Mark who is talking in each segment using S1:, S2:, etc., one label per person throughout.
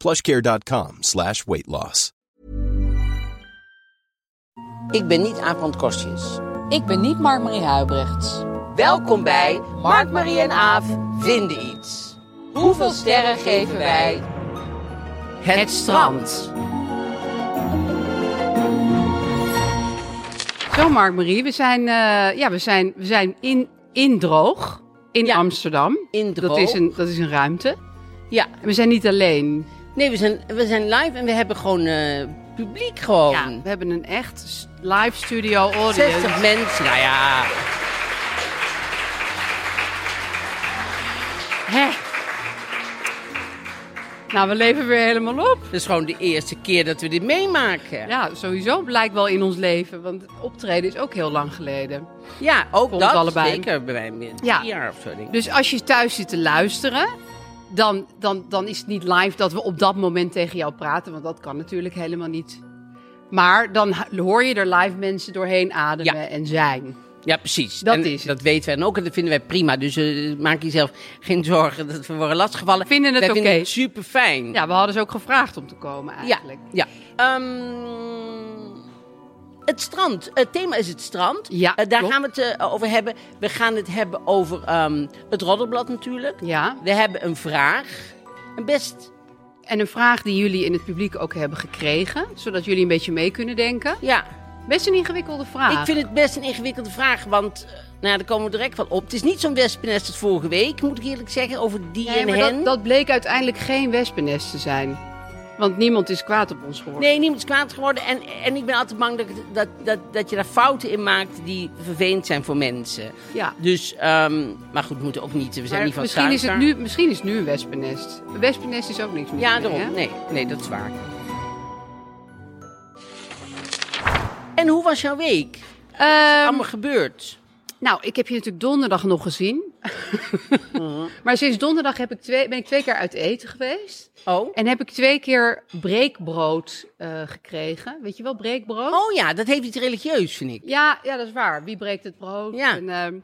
S1: plushcare.com slash weight loss.
S2: Ik ben niet Aaf van Kostjes.
S3: Ik ben niet Mark-Marie Huibrechts.
S2: Welkom bij Mark, Marie en Aaf vinden iets. Hoeveel sterren geven wij het strand?
S3: Zo, Mark-Marie, we zijn, eh, ja, we zijn, we zijn in, in droog in
S2: Ja,
S3: Amsterdam.
S2: in droog.
S3: Dat is, een, dat is een ruimte.
S2: Ja,
S3: En we zijn niet alleen.
S2: nee, we zijn, we zijn live en we hebben gewoon eh, publiek gewoon.
S3: Ja, we hebben een echt s- live studio audience.
S2: 60 mensen, nou ja.
S3: Hè? Nou, we leven weer helemaal op.
S2: Dat is gewoon de eerste keer dat we dit meemaken. Ja,
S3: Ja, sowieso blijkt wel in ons leven, want het optreden is ook heel lang geleden.
S2: ook
S3: Voor ons
S2: dat.
S3: allebei.
S2: Zeker bij mij.
S3: Ja.
S2: Ja. jaar of zo, denk ik.
S3: Dus als je thuis zit te luisteren, dan, dan, dan is het niet live dat we op dat moment tegen jou praten, want dat kan natuurlijk helemaal niet. Maar dan h- hoor je er live mensen doorheen ademen
S2: Ja.
S3: en zijn.
S2: Ja, precies.
S3: Dat
S2: en
S3: is het.
S2: Dat weten wij en ook. En dat vinden wij prima. Dus eh, maak jezelf geen zorgen dat we worden lastgevallen.
S3: Vinden het
S2: wij
S3: oké.
S2: vinden het super fijn.
S3: Ja, we hadden ze ook gevraagd om te komen
S2: ja.
S3: eigenlijk.
S2: ja. Ehm, het strand. Het thema is het strand.
S3: Ja,
S2: Eh, daar
S3: klopt.
S2: gaan we het eh, over hebben. We gaan het hebben over ehm, het Roddelblad natuurlijk.
S3: Ja.
S2: We hebben een vraag. Een best...
S3: En een vraag die jullie in het publiek ook hebben gekregen, zodat jullie een beetje mee kunnen denken.
S2: Ja.
S3: Best een ingewikkelde vraag.
S2: Ik vind het best een ingewikkelde vraag, want... eh, Nou, ja, daar komen we direct wel op. Het is niet zo'n wespennest als vorige week, moet ik eerlijk zeggen, over die
S3: Nee,
S2: en
S3: maar
S2: hen.
S3: dat, dat bleek uiteindelijk geen wespennest te zijn. Want niemand is kwaad op ons geworden.
S2: Nee, niemand is kwaad geworden. En, en ik ben altijd bang dat, ik- dat, dat, dat je daar fouten in maakt die vervelend zijn voor mensen.
S3: Ja.
S2: Dus, ehm, maar goed, we moeten ook niet. We zijn
S3: Maar
S2: niet van
S3: misschien, is het
S2: suiker.
S3: nu, misschien is het nu een wespennest. Een wespennest is ook niks meer.
S2: Ja, daarom. Nee, nee, dat is waar. En hoe was jouw week?
S3: Ehm,
S2: Allemaal gebeurd.
S3: nou, ik heb je natuurlijk donderdag nog gezien.
S2: Mhm.
S3: maar sinds donderdag heb ik twee, ben ik twee keer uit eten geweest.
S2: Oh.
S3: En heb ik twee keer breekbrood eh, gekregen. Weet je wel, breekbrood?
S2: Oh ja, dat heeft iets religieus, vind ik.
S3: Ja, ja, dat is waar. Wie breekt het brood?
S2: Ja.
S3: En, ehm,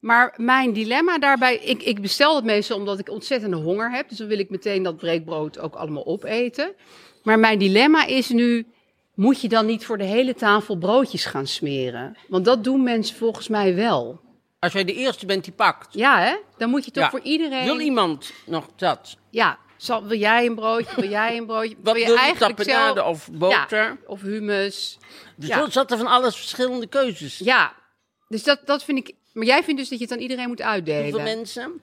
S3: maar mijn dilemma daarbij, ik, ik bestel het meestal omdat ik ontzettende honger heb. Dus dan wil ik meteen dat breekbrood ook allemaal opeten. Maar mijn dilemma is nu, moet je dan niet voor de hele tafel broodjes gaan smeren? Want dat doen mensen volgens mij wel.
S2: Als jij de eerste bent die pakt.
S3: Ja, hè? Dan moet je toch
S2: Ja.
S3: voor iedereen...
S2: Wil iemand nog dat?
S3: Ja, zal, wil jij een broodje? Wil jij een broodje?
S2: Wat
S3: je
S2: wil je,
S3: eigenlijk
S2: tapenade
S3: zelf-
S2: of boter?
S3: Ja, of hummus.
S2: Dus
S3: Ja.
S2: zo zat er van alles verschillende keuzes.
S3: Ja, dus dat, dat vind ik... Maar jij vindt dus dat je het aan iedereen moet uitdelen?
S2: Hoeveel mensen?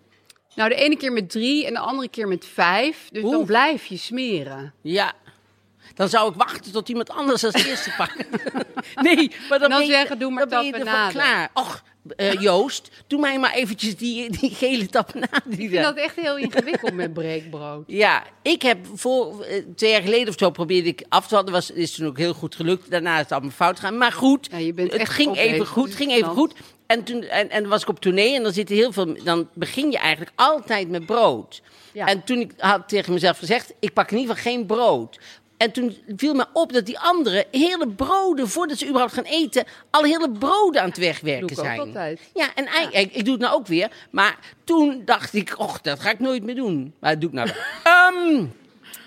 S3: Nou, de ene keer met drie en de andere keer met vijf. Dus dan
S2: Oeh.
S3: blijf je smeren.
S2: Ja. Dan zou ik wachten tot iemand anders als eerste pakt. nee, maar dan,
S3: Dan
S2: ben je-
S3: zeggen, doe maar
S2: dan ben je ervoor
S3: tapenade.
S2: klaar. Och, eh, Joost, doe mij maar eventjes die, die gele tapenade. die
S3: Ik
S2: daar-
S3: vind dat echt heel ingewikkeld met breekbrood.
S2: Ja, ik heb voor, eh, twee jaar geleden of zo probeerde ik af te hadden. Was, is toen ook heel goed gelukt. Daarna is het allemaal fout gegaan. Maar goed,
S3: Ja, je bent
S2: het
S3: echt
S2: ging
S3: opleven.
S2: even
S3: Dat
S2: goed,
S3: is
S2: ging even
S3: interessant.
S2: goed. En toen en, en was ik op tournee en dan zitten heel veel. Dan begin je eigenlijk altijd met brood.
S3: Ja.
S2: En toen ik had tegen mezelf gezegd, ik pak in ieder geval geen brood. En toen viel me op dat die anderen hele broden, voordat ze überhaupt gaan eten, al hele broden aan het wegwerken
S3: Doe ik ook
S2: zijn.
S3: altijd.
S2: Ja, en eigenlijk, ik, ik doe het nou ook weer. Maar toen dacht ik, och, dat ga ik nooit meer doen. Maar dat doe ik nou wel. Ehm,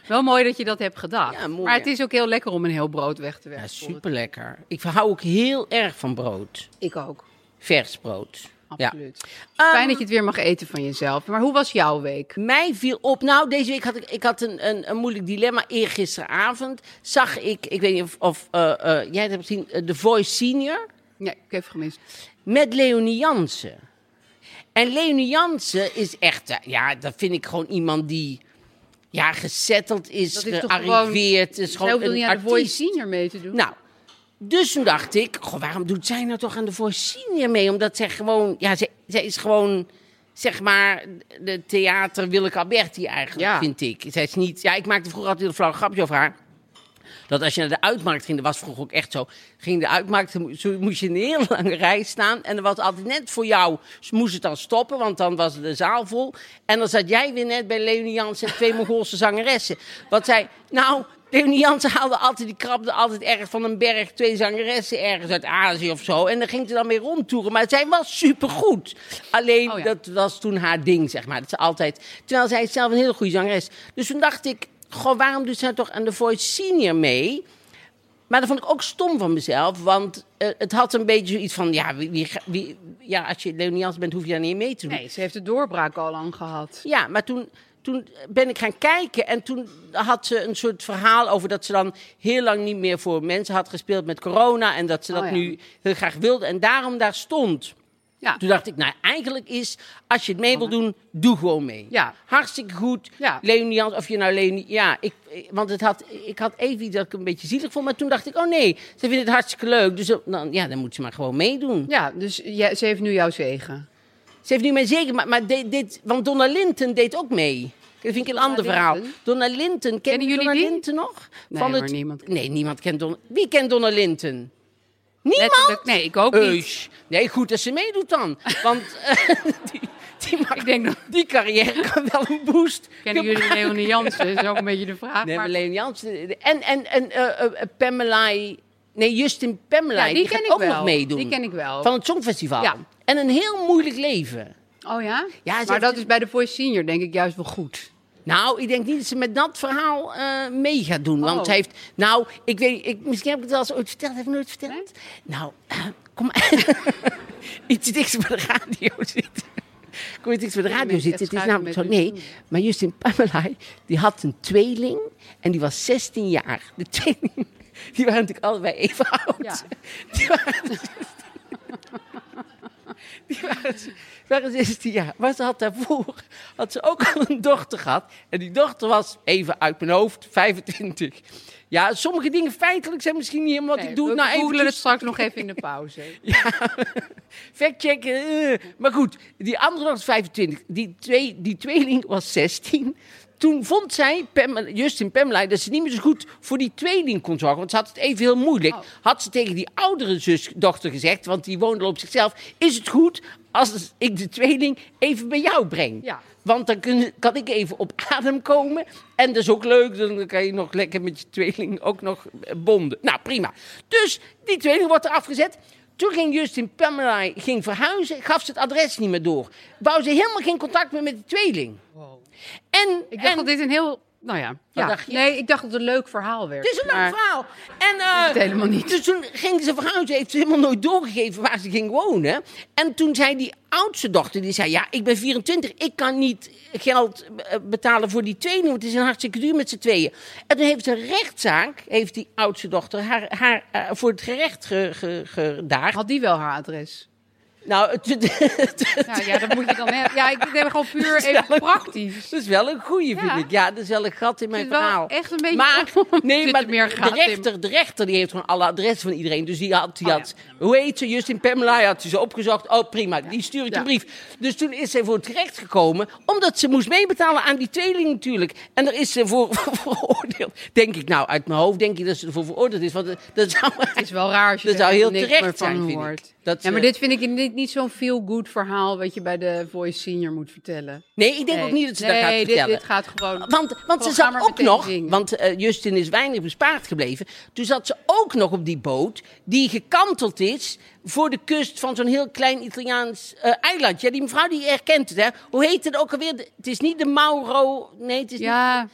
S3: Wel mooi dat je dat hebt gedaan.
S2: Ja, mooi,
S3: maar het
S2: ja.
S3: is ook heel lekker om een heel brood weg te
S2: Ja,
S3: werken.
S2: super lekker. Ik hou ook heel erg van brood.
S3: Ik ook.
S2: Vers brood.
S3: absoluut.
S2: Ehm,
S3: Fijn dat je het weer mag eten van jezelf. Maar hoe was jouw week?
S2: Mij viel op. Nou, deze week had ik, ik had een, een, een moeilijk dilemma. Eergisteravond zag ik, ik weet niet of, of eh, eh, jij het hebt gezien, eh, The Voice Senior
S3: Ja, ik heb gemist.
S2: met Leonie Jansen. En Leonie Jansen is echt, eh, ja, dat vind ik gewoon iemand die ja, gezetteld is,
S3: Dat is toch
S2: gearriveerd. Is
S3: Zij
S2: gewoon
S3: hoeft toch
S2: een
S3: niet aan de Voice
S2: artiest.
S3: Senior mee te doen?
S2: Nou, dus toen dacht ik, goh, waarom doet zij nou toch aan de voorziening mee? Omdat zij gewoon, ja, zij, zij is gewoon, zeg maar, de theater Willeke Alberti eigenlijk,
S3: Ja.
S2: vind ik. Zij is niet, ja, ik maakte vroeger altijd een flauw grapje over haar. Dat als je naar de uitmarkt ging, dat was vroeger ook echt zo. Ging de uitmarkt, dan mo- zo- moest je in een heel lange rij staan. En er was altijd net voor jou, ze moest het dan stoppen, want dan was de zaal vol. En dan zat jij weer net bij Leonie Jansen en twee Mongoolse zangeressen. Wat zij, nou, Leonie Jansen haalde altijd, die krabde altijd ergens van een berg twee zangeressen ergens uit Azië of zo. En dan ging ze dan weer rondtoeren. Maar zij was supergoed. Alleen,
S3: Oh ja.
S2: dat was toen haar ding, zeg maar. Dat ze altijd, terwijl zij is zelf een hele goede zangeres. Dus toen dacht ik, goh, waarom doet zij toch aan de Voice Senior mee? Maar dat vond ik ook stom van mezelf. Want eh, het had een beetje zoiets van... Ja, wie, wie, ga- wie- ja als je Leonias bent, hoef je daar niet mee te doen.
S3: Nee, ze heeft de doorbraak al lang gehad.
S2: Ja, maar toen, toen ben ik gaan kijken. En toen had ze een soort verhaal over dat ze dan heel lang niet meer voor mensen had gespeeld met corona. En dat ze dat
S3: Oh ja.
S2: nu heel graag wilde. En daarom daar stond.
S3: Ja.
S2: Toen dacht ik, nou eigenlijk is, als je het mee wil doen, doe gewoon mee.
S3: Ja.
S2: Hartstikke goed.
S3: Ja.
S2: Leonie Jans, of je nou Leonie... Ja, ik, eh, want het had, ik had even iets dat ik een beetje zielig vond. Maar toen dacht ik, oh nee, ze vindt het hartstikke leuk. Dus dan, ja, dan moet ze maar gewoon meedoen.
S3: Ja, dus jij- ze heeft nu jouw zegen.
S2: Ze heeft nu mijn zeker, maar, maar dit, dit, want Donna Linton deed ook mee. Dat vind ik een ander
S3: Linton?
S2: verhaal. Donna Linton, kennen,
S3: jullie
S2: Donna
S3: die?
S2: Linton nog?
S3: Nee, maar niemand kent-
S2: Nee, niemand kent Donna... Wie kent Donna Linton? Niemand?
S3: Letterlijk, nee, ik ook niet.
S2: Heus. Nee, goed dat ze meedoet dan. Want eh, die, die, mag-
S3: Ik denk dat-
S2: die carrière kan wel een boost.
S3: Kennen jullie Leonie Jansen? Dat is ook een beetje de vraag.
S2: Nee, maar
S3: maar-
S2: Leen Jansen. En, en, en eh, eh, Pamela... Nee, Justin Pamela.
S3: Ja, die
S2: die
S3: ken
S2: gaat
S3: ik
S2: ook
S3: wel.
S2: nog meedoen.
S3: Die ken ik wel.
S2: Van het Songfestival.
S3: Ja.
S2: En een heel moeilijk leven.
S3: Oh ja?
S2: Ja, ze
S3: maar
S2: heeft
S3: dat
S2: een-
S3: is bij de Voice Senior denk ik juist wel goed.
S2: Nou, ik denk niet dat ze met dat verhaal eh, mee gaat doen.
S3: Oh.
S2: Want zij heeft. Nou, ik weet. Ik, misschien heb ik het wel eens ooit verteld. Heb ik nooit verteld? Nou, eh, kom maar. Iets dichter bij de radio zitten. Kom je dichter bij de
S3: Ja,
S2: radio
S3: mensen
S2: zitten? Het is
S3: schuiven
S2: namelijk zo.
S3: met hun
S2: Nee, maar Justin Pamela, die had een tweeling. En die was 16 jaar. De tweeling. Die waren natuurlijk allebei even oud.
S3: Ja.
S2: Die waren. Die waren, waren 16 jaar. Maar ze had daarvoor had ze ook al een dochter gehad. En die dochter was, even uit mijn hoofd, 25. Ja, sommige dingen feitelijk zijn misschien niet helemaal wat
S3: Nee,
S2: ik doe.
S3: we
S2: het Nou,
S3: googelen
S2: eventjes-
S3: het dus- straks nog even in de pauze.
S2: ja, factchecken. eh. Maar goed, die andere was 25. Die, twee, die tweeling was 16. Toen vond zij, Pamela- Justin Pamela, dat ze niet meer zo goed voor die tweeling kon zorgen. Want ze had het even heel moeilijk.
S3: Oh.
S2: Had ze tegen die oudere zus, dochter gezegd, want die woonde al op zichzelf. Is het goed als ik de tweeling even bij jou breng?
S3: Ja.
S2: Want dan kun- kan ik even op adem komen. En dat is ook leuk, dan kan je nog lekker met je tweeling ook nog eh, bonden. Nou, prima. Dus die tweeling wordt eraf gezet. Toen ging Justin Pamela ging verhuizen, gaf ze het adres niet meer door. Wou ze helemaal geen contact meer met de tweeling. En,
S3: Ik dacht
S2: en
S3: dat dit een heel... Nou ja. ja.
S2: dacht je?
S3: Nee, ik dacht dat het een leuk verhaal werd.
S2: Het is een lang
S3: maar-
S2: verhaal. En, eh,
S3: het helemaal niet.
S2: Dus toen ging ze verhuizen. Heeft ze helemaal nooit doorgegeven waar ze ging wonen. En toen zei die oudste dochter, die zei... Ja, ik ben 24, ik kan niet geld eh, betalen voor die tweeling. Want het is een hartstikke duur met z'n tweeën. En toen heeft een rechtszaak, heeft die oudste dochter... haar, haar eh, voor het gerecht ge, ge- gedaagd.
S3: Had die wel haar adres?
S2: Nou, het,
S3: Ja, ja dat moet je dan hebben. Ja, ik ben gewoon puur even
S2: wel een
S3: praktisch.
S2: Dat is wel een goeie, vind
S3: Ja.
S2: ik. Ja, dat is wel een gat in mijn
S3: Het is wel
S2: verhaal.
S3: echt een beetje
S2: Maar,
S3: om-
S2: nee,
S3: zit
S2: maar
S3: er meer
S2: de
S3: gat in.
S2: rechter, de rechter die heeft gewoon alle adressen van iedereen. Dus die had, die
S3: Oh, ja.
S2: had hoe heet ze, Justin Pamela, had ze ze opgezocht. Oh, prima, die stuur ik
S3: Ja.
S2: een brief. Dus toen is zij voor het recht gekomen, omdat ze moest meebetalen aan die tweeling natuurlijk. En daar is ze voor, voor veroordeeld. Denk ik nou, uit mijn hoofd denk ik dat ze ervoor veroordeeld is. Want eh, dat zou...
S3: Het is wel raar als je
S2: Dat
S3: er
S2: zou
S3: echt
S2: heel
S3: niks
S2: terecht
S3: meer van
S2: zijn, vind ik.
S3: hoort.
S2: Dat eh,
S3: ja, maar
S2: ze-
S3: dit vind ik niet, niet zo'n feel-good verhaal... wat je bij de Voice Senior moet vertellen.
S2: Nee, ik denk ook niet dat ze dat gaat
S3: Nee, dit,
S2: vertellen.
S3: dit gaat gewoon...
S2: Want, want ze
S3: Gewoon, ga
S2: zat
S3: maar
S2: ook
S3: meteen
S2: nog,
S3: zingen.
S2: want eh, Justin is weinig bespaard gebleven. Toen zat ze ook nog op die boot die gekanteld is voor de kust van zo'n heel klein Italiaans eh, eiland. Ja, die mevrouw die herkent het, hè? Hoe heet het ook alweer? De- Het is niet de Mauro. Nee, het is
S3: Ja,
S2: niet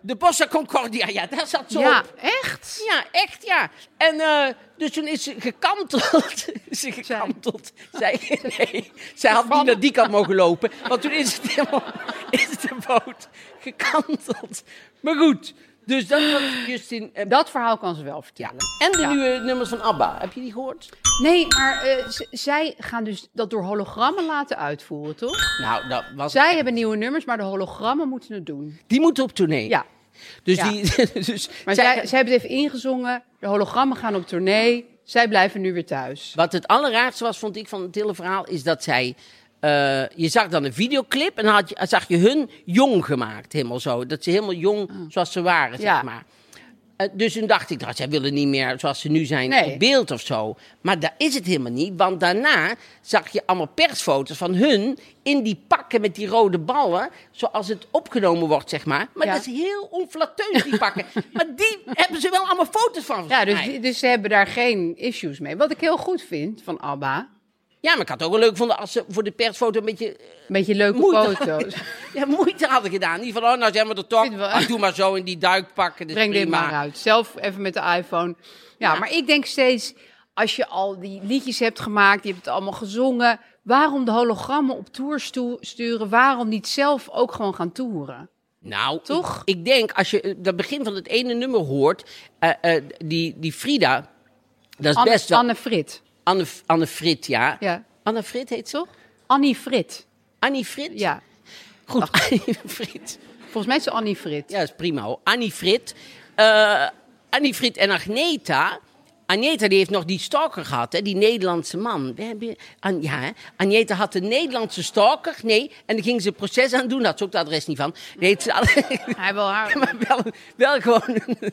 S2: de Bossa Concordia. Ja, daar zat ze
S3: Ja,
S2: op.
S3: echt?
S2: Ja, echt ja. En eh, dus toen is ze gekanteld. is ze gekanteld. Zij, nee, zij had niet naar die kant mogen lopen. Want toen is, het helemaal, is de boot gekanteld. Maar goed, dus dat was Justin. eh,
S3: Dat verhaal kan ze wel
S2: ja.
S3: vertellen.
S2: En de nieuwe nummers van ABBA. Heb je die gehoord?
S3: Nee, maar eh, z- zij gaan dus dat door hologrammen laten uitvoeren, toch?
S2: Nou, dat was...
S3: Zij hebben nieuwe nummers, maar de hologrammen moeten het doen.
S2: Die moeten op tournee.
S3: Ja,
S2: Dus
S3: Ja.
S2: die... Dus
S3: maar zij, zij hebben het even ingezongen. De hologrammen gaan op tournee. Zij blijven nu weer thuis.
S2: Wat het allerraarste was, vond ik, van het hele verhaal, is dat zij... eh, je zag dan een videoclip en dan had je, eh, zag je hun jong gemaakt, helemaal zo. Dat ze helemaal jong zoals ze waren,
S3: Ah. Ja.
S2: zeg maar. Eh, dus toen dacht ik, nou, zij willen niet meer zoals ze nu zijn
S3: Nee.
S2: op beeld of zo. Maar dat is het helemaal niet, want daarna zag je allemaal persfoto's van hun in die pakken met die rode ballen, zoals het opgenomen wordt, zeg maar. Maar
S3: Ja.
S2: dat is heel onflatteus, die pakken. maar die hebben ze wel allemaal foto's van.
S3: Ja,
S2: volgens mij.
S3: dus, dus ze hebben daar geen issues mee. Wat ik heel goed vind van ABBA.
S2: Ja, maar ik had het ook wel leuk gevonden als ze voor de persfoto een beetje... eh,
S3: Een beetje leuke
S2: Moeite.
S3: foto's.
S2: Ja, moeite hadden gedaan. Niet van, oh, nou zijn we er toch.
S3: Vind wel-
S2: Ah, doe maar zo in die duikpakken. Dus
S3: Breng dit
S2: prima.
S3: maar uit. Zelf even met de iPhone. Ja, maar ik denk steeds, als je al die liedjes hebt gemaakt, je hebt het allemaal gezongen. Waarom de hologrammen op tour stu- sturen? Waarom niet zelf ook gewoon gaan toeren?
S2: Nou,
S3: Toch?
S2: Ik, ik denk, als je eh, dat begin van het ene nummer hoort... eh, eh, die, die Frida, dat is
S3: Anne,
S2: best wel... Anne,
S3: Anne Frit.
S2: Anne, Frit, ja.
S3: Ja.
S2: Anne Frit heet ze?
S3: Toch? Annie Frit.
S2: Annie Frit?
S3: Ja.
S2: Goed, Annie Frit.
S3: Volgens mij is ze Annie Frit.
S2: Ja, dat is prima hoor. Annie Frit. Eh, Annie Frit en Agneta. Agneta die heeft nog die stalker gehad, hè? die Nederlandse man. We hebben, An- ja, hè. Agneta had een Nederlandse stalker, nee. En dan ging ze een proces aan doen, daar had ze ook het adres niet van. Nee, het is alle-
S3: Hij wil haar.
S2: maar wel, wel gewoon een,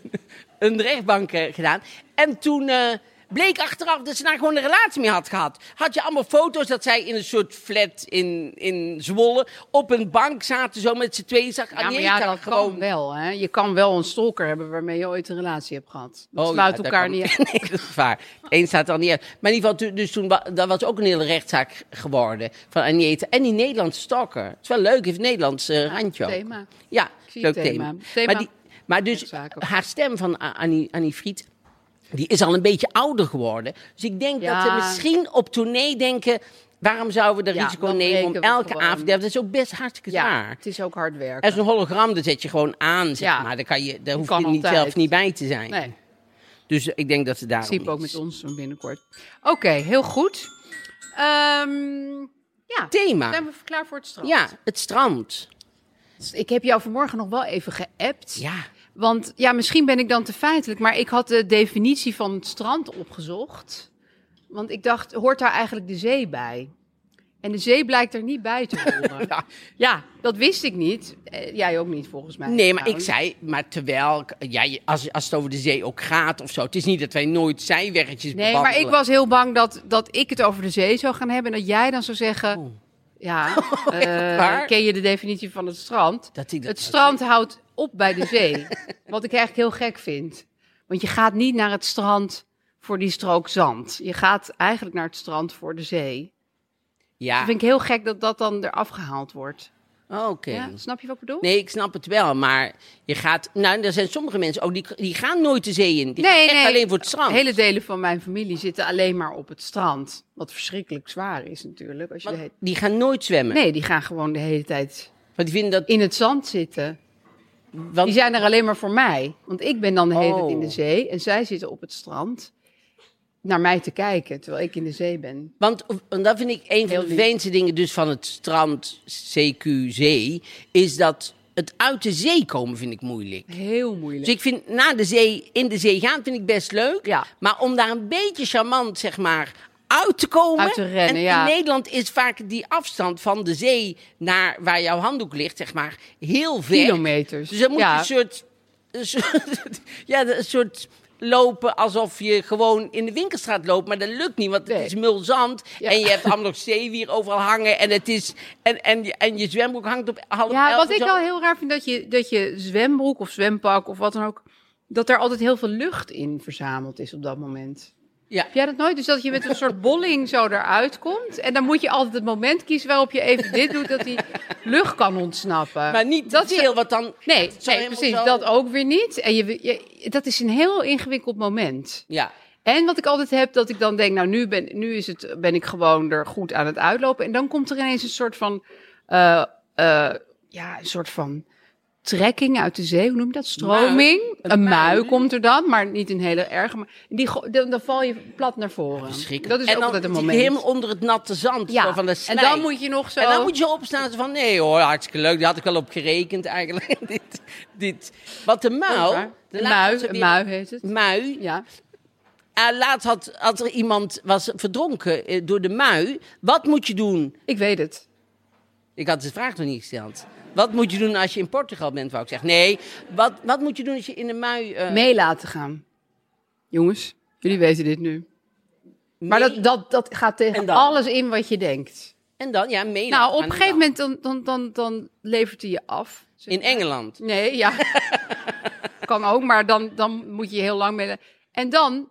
S2: een rechtbank eh, gedaan. En toen eh, bleek achteraf dat ze daar gewoon een relatie mee had gehad. Had je allemaal foto's dat zij in een soort flat in, in Zwolle op een bank zaten, zo met z'n tweeën. Zag
S3: Ja, maar
S2: Agneta
S3: ja, dat
S2: gewoon
S3: kan wel. Hè? Je kan wel een stalker hebben waarmee je ooit een relatie hebt gehad. Dat
S2: Oh,
S3: sluit
S2: ja, dat
S3: elkaar
S2: kan-
S3: niet uit.
S2: Nee, dat is waar. Het een staat er niet uit. Maar in ieder geval, tu- dus toen wa- dat was ook een hele rechtszaak geworden van Agneta. En die Nederlandse stalker. Het is wel leuk, heeft een Nederlands eh, randje ook.
S3: thema.
S2: Ja,
S3: zie
S2: leuk
S3: het
S2: thema.
S3: thema. Thema.
S2: Maar, die, maar dus
S3: Rechtszaak ook.
S2: haar stem van A- Annie, Annie Fried, die is al een beetje ouder geworden. Dus ik denk
S3: Ja.
S2: dat ze misschien op tournee denken... Waarom zouden we de
S3: Ja,
S2: risico
S3: dan
S2: nemen om
S3: breken we
S2: elke
S3: gewoon.
S2: avond... Ja, dat is ook best hartstikke
S3: Ja,
S2: zwaar.
S3: het is ook hard werken.
S2: En zo'n hologram, dat zet je gewoon aan, zeg
S3: Ja.
S2: maar. Daar, kan je, daar hoef
S3: kan
S2: je niet
S3: altijd.
S2: zelf niet bij te zijn.
S3: Nee.
S2: Dus ik denk dat ze daarom
S3: Siep ook
S2: iets-
S3: met ons zo binnenkort. Oké, heel goed. Ehm, ja,
S2: Thema.
S3: zijn we klaar voor het strand?
S2: Ja, het strand.
S3: Ik heb jou vanmorgen nog wel even geappt.
S2: Ja.
S3: Want ja, misschien ben ik dan te feitelijk, maar ik had de definitie van het strand opgezocht. Want ik dacht, hoort daar eigenlijk de zee bij? En de zee blijkt er niet bij te horen. ja. dat wist ik niet. Eh, jij ook niet, volgens mij.
S2: Nee, maar ik
S3: trouwens.
S2: zei, maar terwijl, ik- ja, je- als, als het over de zee ook gaat of zo. Het is niet dat wij nooit zijweggetjes
S3: Nee, maar ik
S2: bewandelen.
S3: was heel bang dat, dat ik het over de zee zou gaan hebben. En dat jij dan zou zeggen... Ja, eh,
S2: Oh, waar?
S3: ken je de definitie van het strand?
S2: Dat ik dat
S3: het
S2: zou
S3: strand houdt op bij de zee. wat ik eigenlijk heel gek vind. Want je gaat niet naar het strand voor die strook zand. Je gaat eigenlijk naar het strand voor de zee.
S2: Ja, Oh,
S3: Dat vind ik heel gek dat dat dan eraf gehaald wordt.
S2: oké.
S3: Ja, snap je wat ik bedoel?
S2: Nee, ik snap het wel, maar je gaat... Nou, er zijn sommige mensen ook, die, die gaan nooit de zee in. Die gaan echt alleen voor het strand.
S3: Hele delen van mijn familie zitten alleen maar op het strand. Wat verschrikkelijk zwaar is natuurlijk. Als je de
S2: Want
S3: hele-
S2: die gaan nooit zwemmen.
S3: Nee, die gaan gewoon de hele tijd
S2: Want die vinden dat...
S3: in het zand zitten.
S2: Want,
S3: Die zijn er alleen maar voor mij. Want ik ben dan de hele tijd in de
S2: Oh.
S3: zee en zij zitten op het strand naar mij te kijken terwijl ik in de zee ben.
S2: Want en dat vind ik een van
S3: Heel
S2: de
S3: lief.
S2: vervelendste dingen dus van het strand CQC... is dat het uit de zee komen vind ik moeilijk.
S3: Heel moeilijk.
S2: Dus ik vind na de zee, in de zee gaan, vind ik best leuk.
S3: Ja.
S2: Maar om daar een beetje charmant, zeg maar, uit te komen.
S3: Uit te rennen,
S2: en
S3: ja.
S2: In Nederland is vaak die afstand van de zee naar waar jouw handdoek ligt, zeg maar, heel ver.
S3: Kilometers,
S2: Dus dan moet
S3: ja.
S2: je een soort, een soort, ja, een soort lopen alsof je gewoon in de winkelstraat loopt. Maar dat lukt niet, want
S3: Nee.
S2: het is mulzand.
S3: Ja.
S2: En je hebt allemaal nog zeewier overal hangen. En, het is, en, en, je- en je zwembroek hangt op half
S3: ja,
S2: elf
S3: wat
S2: en
S3: ik
S2: zo.
S3: wel heel raar vind, dat je, dat je zwembroek of zwempak of wat dan ook, dat er altijd heel veel lucht in verzameld is op dat moment.
S2: Ja.
S3: Heb jij dat nooit? Dus dat je met een soort bolling zo eruit komt. En dan moet je altijd het moment kiezen waarop je even dit doet, dat die lucht kan ontsnappen.
S2: Maar niet
S3: dat
S2: dat
S3: is-
S2: veel, want dan...
S3: Nee,
S2: Zo
S3: nee
S2: helemaal
S3: precies.
S2: zo.
S3: Dat ook weer niet. En je, je- dat is een heel ingewikkeld moment.
S2: Ja,
S3: En wat ik altijd heb, dat ik dan denk, nou nu ben, nu is het, ben ik gewoon er goed aan het uitlopen. En dan komt er ineens een soort van, eh, eh, ja, een soort van trekking uit de zee. Hoe noem je dat? Stroming.
S2: Een
S3: een mui
S2: mui.
S3: komt er dan, maar niet een hele erge. Maar die, go- dan, dan val je plat naar voren.
S2: Oh, verschrikkelijk.
S3: Dat is
S2: en
S3: ook
S2: dan
S3: altijd een
S2: zit je
S3: moment.
S2: helemaal onder het natte zand zo
S3: ja.
S2: van de
S3: en
S2: slijk.
S3: dan moet je nog zo...
S2: En dan moet je opstaan en zo van, nee hoor, hartstikke leuk. Daar had ik wel op gerekend eigenlijk. dit, dit. Want de muil...
S3: Nou, Een
S2: de
S3: mui,
S2: laatste
S3: een
S2: weer-
S3: mui heet het.
S2: Mui,
S3: Ja.
S2: Eh, laatst had, had er iemand was verdronken eh, door de mui. Wat moet je doen?
S3: Ik weet het.
S2: Ik had de vraag nog niet gesteld. Wat moet je doen als je in Portugal bent, wou ik zeggen. Nee, wat, wat moet je doen als je in de mui... eh,
S3: Mee laten gaan. Jongens, jullie weten dit nu. Maar
S2: mee-
S3: dat, dat, dat gaat
S2: En
S3: tegen
S2: dan?
S3: alles in wat je denkt.
S2: En dan, ja, mee laten
S3: Nou, op
S2: gaan.
S3: een gegeven moment dan, dan, dan, dan levert hij je af.
S2: In Engeland.
S3: Nee, ja. kan ook, maar dan, dan moet je heel lang mee. En dan,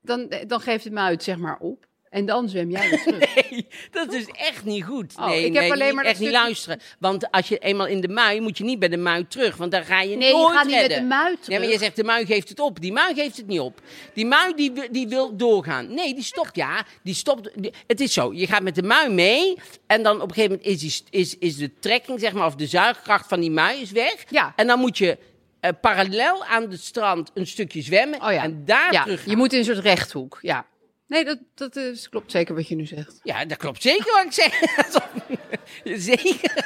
S3: dan, dan geeft het me uit, zeg maar, op. En dan zwem jij weer terug.
S2: Nee, dat is echt niet goed.
S3: Oh,
S2: nee,
S3: ik heb
S2: nee,
S3: alleen
S2: niet-
S3: maar dat
S2: echt niet
S3: stukje-
S2: luisteren. Want als je eenmaal in de mui, moet je niet bij de mui terug. Want dan ga je
S3: Nee, je
S2: nooit
S3: gaat niet met
S2: redden.
S3: de mui
S2: Ja, maar
S3: terug.
S2: je zegt, de mui geeft het op. Die mui geeft het niet op. Die mui, die, wi- die wil doorgaan. Nee, die stopt, ja. Die stopt. die- het is zo, je gaat met de mui mee. En dan op een gegeven moment is, die, st- is, is de trekking, zeg maar, of de zuigkracht van die mui is weg.
S3: Ja.
S2: En dan moet je... eh, parallel aan het strand een stukje zwemmen
S3: Oh ja.
S2: en daar
S3: ja,
S2: terug.
S3: Je moet in een soort rechthoek. Ja. Nee, dat, dat is, klopt zeker wat je nu zegt.
S2: Ja, dat klopt zeker wat ik zeg. Alsof- zeker.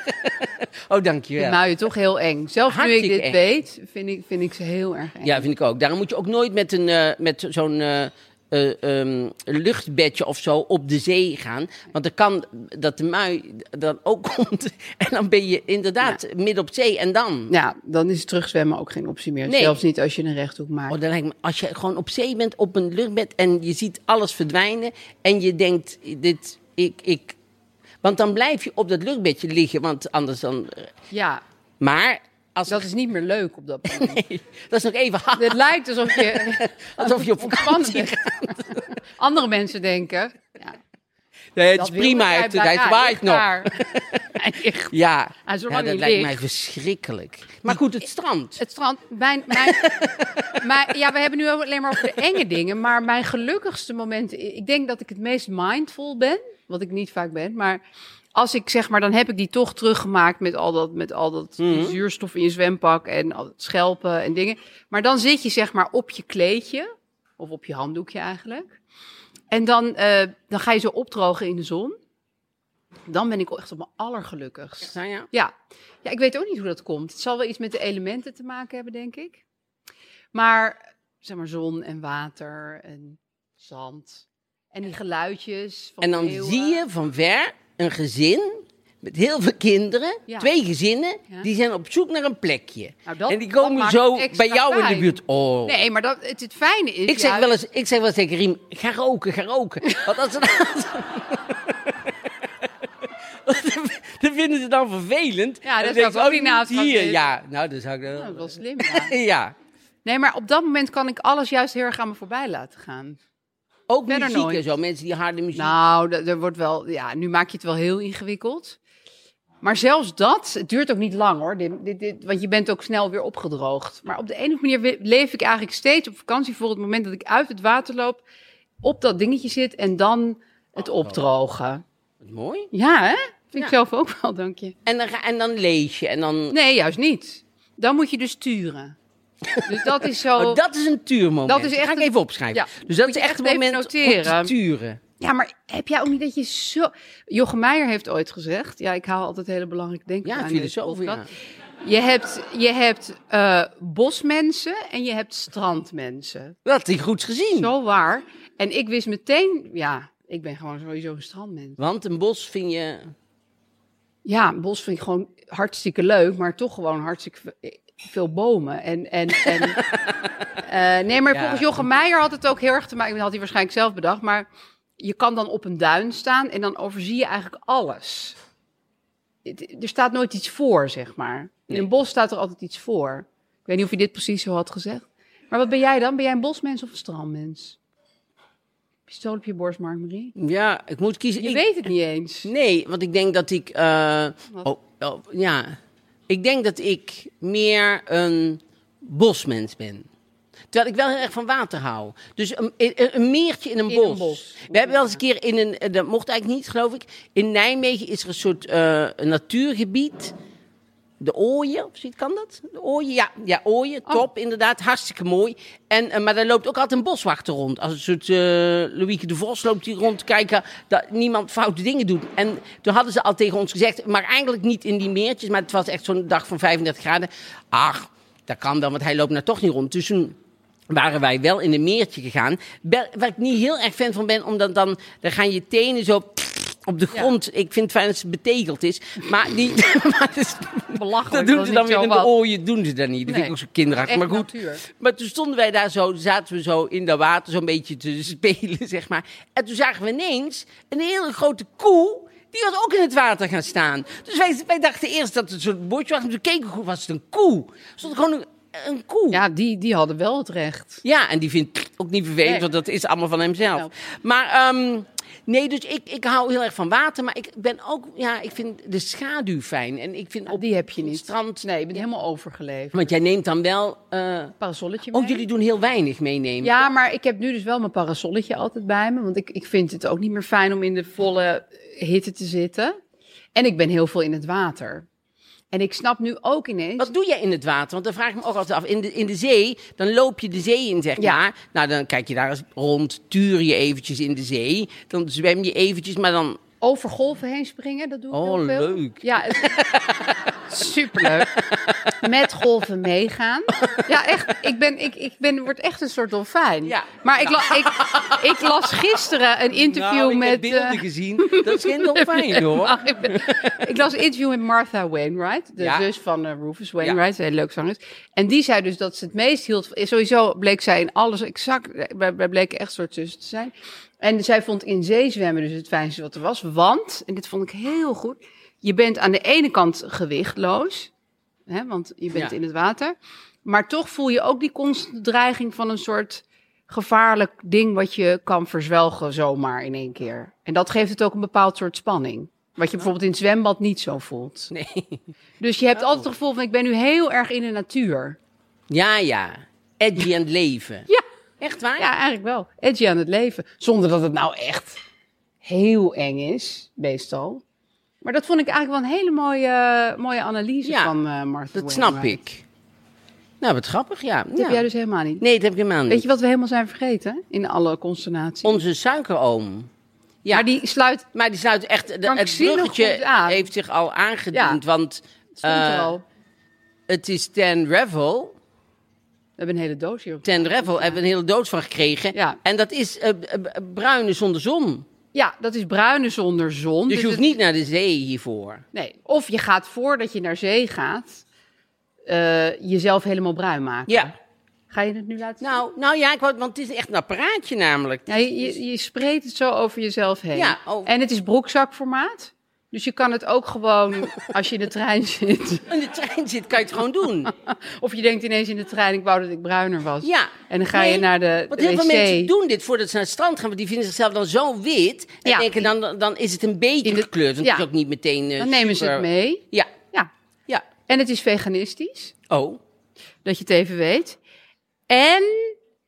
S2: Oh,
S3: De
S2: dankjewel.
S3: muien toch heel eng. Zelfs nu
S2: Hartstikke
S3: ik dit
S2: eng.
S3: weet, vind ik, vind ik ze heel erg eng.
S2: Ja, vind ik ook. Daarom moet je ook nooit met, een, eh, met zo'n eh, eh, ehm, luchtbedje of zo op de zee gaan. Want dan kan dat de mui dan ook komt. En dan ben je inderdaad midden op zee. En dan?
S3: Ja, dan is terugzwemmen ook geen optie meer.
S2: Nee.
S3: Zelfs niet als je een rechthoek maakt.
S2: Oh, dan lijkt me, als je gewoon op zee bent, op een luchtbed en je ziet alles verdwijnen. En je denkt, dit, ik, ik... Want dan blijf je op dat luchtbedje liggen. Want anders dan... eh,
S3: Ja,
S2: Maar... Als
S3: dat is niet meer leuk op dat moment.
S2: Nee, dat is nog even hard.
S3: Het lijkt alsof je,
S2: Alsof je op
S3: ontspannen
S2: vakantie
S3: bent. Andere mensen denken. Ja,
S2: Nee, het
S3: dat
S2: is
S3: wil
S2: prima,
S3: hij
S2: het,
S3: blijkbaar.
S2: hij waait
S3: Ja, ligt
S2: nog.
S3: daar. Hij ligt.
S2: Ja,
S3: Hij
S2: ja
S3: is
S2: dat
S3: er lang
S2: lijkt
S3: niet
S2: mij
S3: ligt.
S2: verschrikkelijk. Maar goed, het strand.
S3: Het strand. Mijn, mijn, mijn- ja, we hebben nu ook alleen maar over de enge dingen. Maar mijn gelukkigste momenten. Ik denk dat ik het meest mindful ben. Wat ik niet vaak ben. Maar als ik zeg maar. Dan heb ik die toch teruggemaakt. Met al dat, met al dat die zuurstof in je zwempak. En al dat schelpen en dingen. Maar dan zit je zeg maar op je kleedje. Of op je handdoekje eigenlijk. En dan, eh, dan ga je zo opdrogen in de zon. Dan ben ik echt op mijn allergelukkigst.
S2: Nou ja.
S3: Ja. ja, ik weet ook niet hoe dat komt. Het zal wel iets met de elementen te maken hebben, denk ik. Maar, zeg maar, zon en water en zand en die geluidjes. Van
S2: En dan
S3: meeuwen.
S2: zie je van ver een gezin met heel veel kinderen,
S3: Ja.
S2: twee gezinnen,
S3: Ja.
S2: die zijn op zoek naar een plekje.
S3: Nou, dat-
S2: en die
S3: dat
S2: komen
S3: maakt
S2: zo
S3: het extra
S2: bij jou in
S3: fijn.
S2: de buurt. Oh.
S3: Nee, maar dat, het, het fijne is...
S2: Ik zeg,
S3: juist-
S2: wel eens, ik zeg wel eens tegen Riem, ga roken, ga roken. Want als ze dan... dat vinden ze dan vervelend.
S3: Ja,
S2: En
S3: dat
S2: dan
S3: zou
S2: denk ze, oh,
S3: ik ook niet naast gaan
S2: hier.
S3: zitten.
S2: Ja, nou, dat zou ik
S3: Nou,
S2: dan...
S3: dat was slim, ja.
S2: Ja,
S3: Nee, maar op dat moment kan ik alles juist heel erg aan me voorbij laten gaan.
S2: ook
S3: Verder
S2: muziek
S3: nooit.
S2: en zo. Mensen die harde muziek...
S3: Nou, dat- er wordt wel... Ja, nu maak je het wel heel ingewikkeld. Maar zelfs dat, het duurt ook niet lang hoor, dit, dit, dit, want je bent ook snel weer opgedroogd. Maar op de een of andere manier we- leef ik eigenlijk steeds op vakantie voor het moment dat ik uit het water loop, op dat dingetje zit en dan het opdrogen.
S2: Wat Mooi.
S3: Ja, hè? Vind
S2: Ja.
S3: ik zelf ook wel, dank je.
S2: En dan, ga- en dan lees je. En dan...
S3: Nee, juist niet. Dan moet je dus sturen. Dus dat is zo.
S2: Oh, dat is een tuurmoment.
S3: Dat is
S2: Die
S3: echt
S2: ga ik
S3: een-
S2: even opschrijven.
S3: Ja.
S2: Dus dat
S3: Moet
S2: is echt een
S3: je echt even
S2: moment om
S3: noteren.
S2: te turen.
S3: Ja, maar heb jij ook niet dat je zo. Jochem Meijer heeft ooit gezegd. Ja, ik haal altijd hele belangrijke denken.
S2: Ja,
S3: aan
S2: filosoof.
S3: deze
S2: Ja.
S3: podcast. Je hebt, je hebt eh, bosmensen en je hebt strandmensen.
S2: Dat had hij goed gezien.
S3: Zo waar. En ik wist meteen, ja, ik ben gewoon sowieso een strandmens.
S2: Want een bos vind je...
S3: Ja, een bos vind ik gewoon hartstikke leuk, maar toch gewoon hartstikke ve- veel bomen. En, en, en, eh, nee, maar
S2: Ja.
S3: volgens Jochem Meijer had het ook heel erg te maken, dat had hij waarschijnlijk zelf bedacht, maar je kan dan op een duin staan en dan overzie je eigenlijk alles. Het- Er staat nooit iets voor, zeg maar. In
S2: Nee.
S3: een bos staat er altijd iets voor. Ik weet niet of je dit precies zo had gezegd. Maar wat ben jij dan? Ben jij een bosmens of een strandmens? Pistool op je borst, Mark-Marie.
S2: Ja, ik moet kiezen.
S3: Je
S2: Ik-
S3: weet het niet eens.
S2: Nee, want ik denk dat ik. eh,
S3: Wat?
S2: oh, oh, ja. Ik denk dat ik meer een bosmens ben. Terwijl ik wel heel erg van water hou. Dus een, een, een meertje in een,
S3: In
S2: bos.
S3: een bos.
S2: We hebben wel eens een keer in een. eh, Dat mocht eigenlijk niet, geloof ik. In Nijmegen is er een soort eh, een natuurgebied. De Ooien, of zoiets, kan dat? De Ooien, ja, ja Ooien, top, inderdaad, hartstikke mooi. En, eh, maar daar loopt ook altijd een boswachter rond. Als een soort eh Louieke de Vos loopt die rond te kijken dat niemand foute dingen doet. En toen hadden ze al tegen ons gezegd, maar eigenlijk niet in die meertjes, maar het was echt zo'n dag van 35 graden. Ach, dat kan dan, want hij loopt nou toch niet rond. Dus toen waren wij wel in een meertje gegaan. Wel- Waar ik niet heel erg fan van ben, omdat dan, dan gaan je tenen zo... Op de grond. Ik vind het fijn dat ze betegeld is. Maar die. Maar het is-
S3: Belachelijk.
S2: dat doen ze dan weer in de
S3: oor.
S2: ooien, doen ze dat niet. Dat vind
S3: Nee.
S2: ik ook zo kinderachtig.
S3: Echt
S2: Maar goed,
S3: natuur.
S2: maar toen stonden wij daar zo, zaten we zo in dat water zo'n beetje te spelen, zeg maar. En toen zagen we ineens een hele grote koe, die was ook in het water gaan staan. Dus wij, wij dachten eerst dat het een soort bordje was, maar toen keken we goed, was het een koe. Er stond gewoon een, een koe.
S3: Ja, die, die hadden wel het recht.
S2: Ja, en die vindt ook niet vervelend,
S3: Nee.
S2: want dat is allemaal van hemzelf.
S3: Nou.
S2: Maar ehm, nee, dus ik, ik hou heel erg van water, maar ik ben ook, ja, ik vind de schaduw fijn. En ik vind
S3: Nou,
S2: op
S3: die heb je
S2: het
S3: niet.
S2: strand,
S3: Nee, je bent helemaal overgeleverd.
S2: want jij neemt dan wel. eh,
S3: Parasolletje mee.
S2: oh, jullie doen heel weinig meenemen.
S3: Ja, maar ik heb nu dus wel mijn parasolletje altijd bij me. Want ik, ik vind het ook niet meer fijn om in de volle eh, hitte te zitten. En ik ben heel veel in het water. En ik snap nu ook ineens...
S2: Wat doe jij in het water? Want dan vraag ik me ook altijd af. In de, in de zee, dan loop je de zee in, zeg
S3: Ja.
S2: maar. Nou, dan kijk je daar eens rond, tuur je eventjes in de zee. Dan zwem je eventjes, maar dan...
S3: over golven heen springen, dat doe ik
S2: Oh,
S3: heel veel.
S2: leuk.
S3: Ja, het- superleuk. Met golven meegaan. Ja, echt. Ik ben, ik, ik ben, word echt een soort dolfijn.
S2: Ja.
S3: Maar ik, la- ik, ik las gisteren een interview
S2: Nou, ik
S3: met...
S2: heb beelden
S3: eh,
S2: gezien. Dat is geen dolfijn, hoor.
S3: Ach, ik, ben- ik las een interview met Martha Wainwright, de
S2: Ja.
S3: zus van eh, Rufus Wainwright, een heel leuk zangeres. En die zei dus dat ze het meest hield. van- Sowieso bleek zij in alles exact, wij, wij bleken echt soort zussen te zijn. En zij vond in zee zwemmen dus het fijnste wat er was. Want, en dit vond ik heel goed, je bent aan de ene kant gewichtloos, hè, want je bent
S2: Ja.
S3: in het water. Maar toch voel je ook die constante dreiging van een soort gevaarlijk ding wat je kan verzwelgen zomaar in één keer. En dat geeft het ook een bepaald soort spanning. Wat je bijvoorbeeld in het zwembad niet zo voelt.
S2: Nee.
S3: Dus je
S2: Oh.
S3: hebt altijd het gevoel van ik ben nu heel erg in de natuur.
S2: Ja, ja. Edgy en leven.
S3: Ja,
S2: Echt waar?
S3: ja eigenlijk wel. Edgy aan het leven. Zonder dat het nou echt heel eng is, meestal. Maar dat vond ik eigenlijk wel een hele mooie, mooie analyse
S2: Ja,
S3: van eh Martha
S2: Dat snap
S3: Wainwright.
S2: ik. Nou, wat grappig, ja.
S3: Dat
S2: Ja.
S3: heb jij dus helemaal niet.
S2: Nee, dat heb ik helemaal niet.
S3: Weet je wat we helemaal zijn vergeten? In alle consternatie.
S2: Onze suikeroom. Ja.
S3: Maar die sluit
S2: Maar die sluit echt. De, het
S3: Krankzinnig goed
S2: bruggetje
S3: aan.
S2: heeft zich al aangediend. Want
S3: stond er
S2: eh,
S3: al.
S2: het is Ten Revel.
S3: We hebben een hele doos hier op
S2: Ten Revel hebben we een hele doos van gekregen.
S3: Ja.
S2: En dat is eh, b- b- bruine zonder zon.
S3: Ja, dat is bruine zonder zon.
S2: Dus je hoeft
S3: het-
S2: niet naar de zee hiervoor.
S3: Nee. Of je gaat voordat je naar zee gaat, eh, jezelf helemaal bruin maken.
S2: Ja.
S3: Ga je het nu laten zien?
S2: Nou, nou ja, ik wou, want het is echt een apparaatje namelijk.
S3: Ja, je, je, je spreekt het zo over jezelf heen.
S2: Ja, oh.
S3: En het is broekzakformaat. Dus je kan het ook gewoon als je in de trein zit.
S2: In de trein zit, kan je het gewoon doen.
S3: Of je denkt ineens in de trein, ik wou dat ik bruiner was.
S2: Ja.
S3: En dan ga je
S2: Nee,
S3: naar de
S2: Want
S3: de
S2: heel veel
S3: wc.
S2: mensen doen dit voordat ze naar het strand gaan. Want die vinden zichzelf dan zo wit. En
S3: Ja.
S2: denken dan, dan is het een beetje
S3: In de-
S2: gekleurd. Want
S3: ja.
S2: het is ook niet meteen. eh,
S3: Dan nemen ze het
S2: super-
S3: mee.
S2: Ja.
S3: Ja.
S2: Ja.
S3: En het is veganistisch.
S2: Oh.
S3: Dat je het even weet. En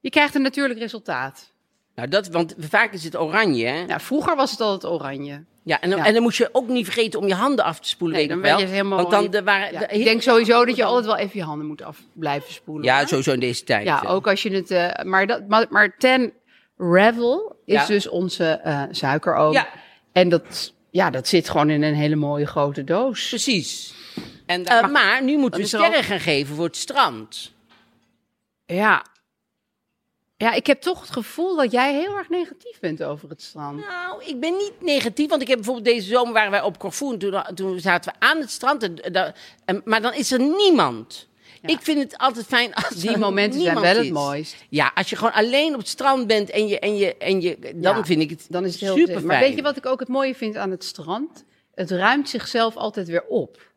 S3: je krijgt een natuurlijk resultaat.
S2: Nou, dat, want vaak is het oranje, hè? Ja,
S3: Ja, vroeger was het altijd oranje.
S2: en, dan,
S3: Ja.
S2: en dan moest je ook niet vergeten om je handen af te spoelen,
S3: Nee,
S2: weet
S3: dan
S2: ik wel.
S3: ben je helemaal
S2: want dan
S3: niet-
S2: de, waren,
S3: Ja,
S2: de-
S3: ik denk sowieso dat je altijd wel even je handen moet af blijven spoelen.
S2: Ja,
S3: hoor.
S2: sowieso in deze tijd.
S3: Ja,
S2: hè.
S3: ook als je het... eh, maar, dat, maar, maar ten Revel is
S2: Ja.
S3: dus onze eh suikeroom.
S2: Ja.
S3: En dat, ja, dat zit gewoon in een hele mooie grote doos.
S2: Precies. En, eh, maar, nu moeten we
S3: is er al-
S2: sterren gaan geven voor het strand.
S3: Ja. Ja, ik heb toch het gevoel dat jij heel erg negatief bent over het strand.
S2: Nou, ik ben niet negatief, want ik heb bijvoorbeeld deze zomer waren wij op Corfu en toen, toen zaten we aan het strand, en, eh, daar- en- maar dan is er niemand. Ik vind het altijd fijn als
S3: Die
S2: er
S3: momenten zijn
S2: niemand
S3: wel het
S2: is.
S3: mooist.
S2: Ja, als je gewoon alleen op het strand bent en je, en je, en je dan
S3: Ja,
S2: vind ik het
S3: Dan is het heel
S2: super
S3: Maar weet je wat ik ook het mooie vind aan het strand? Het ruimt zichzelf altijd weer op.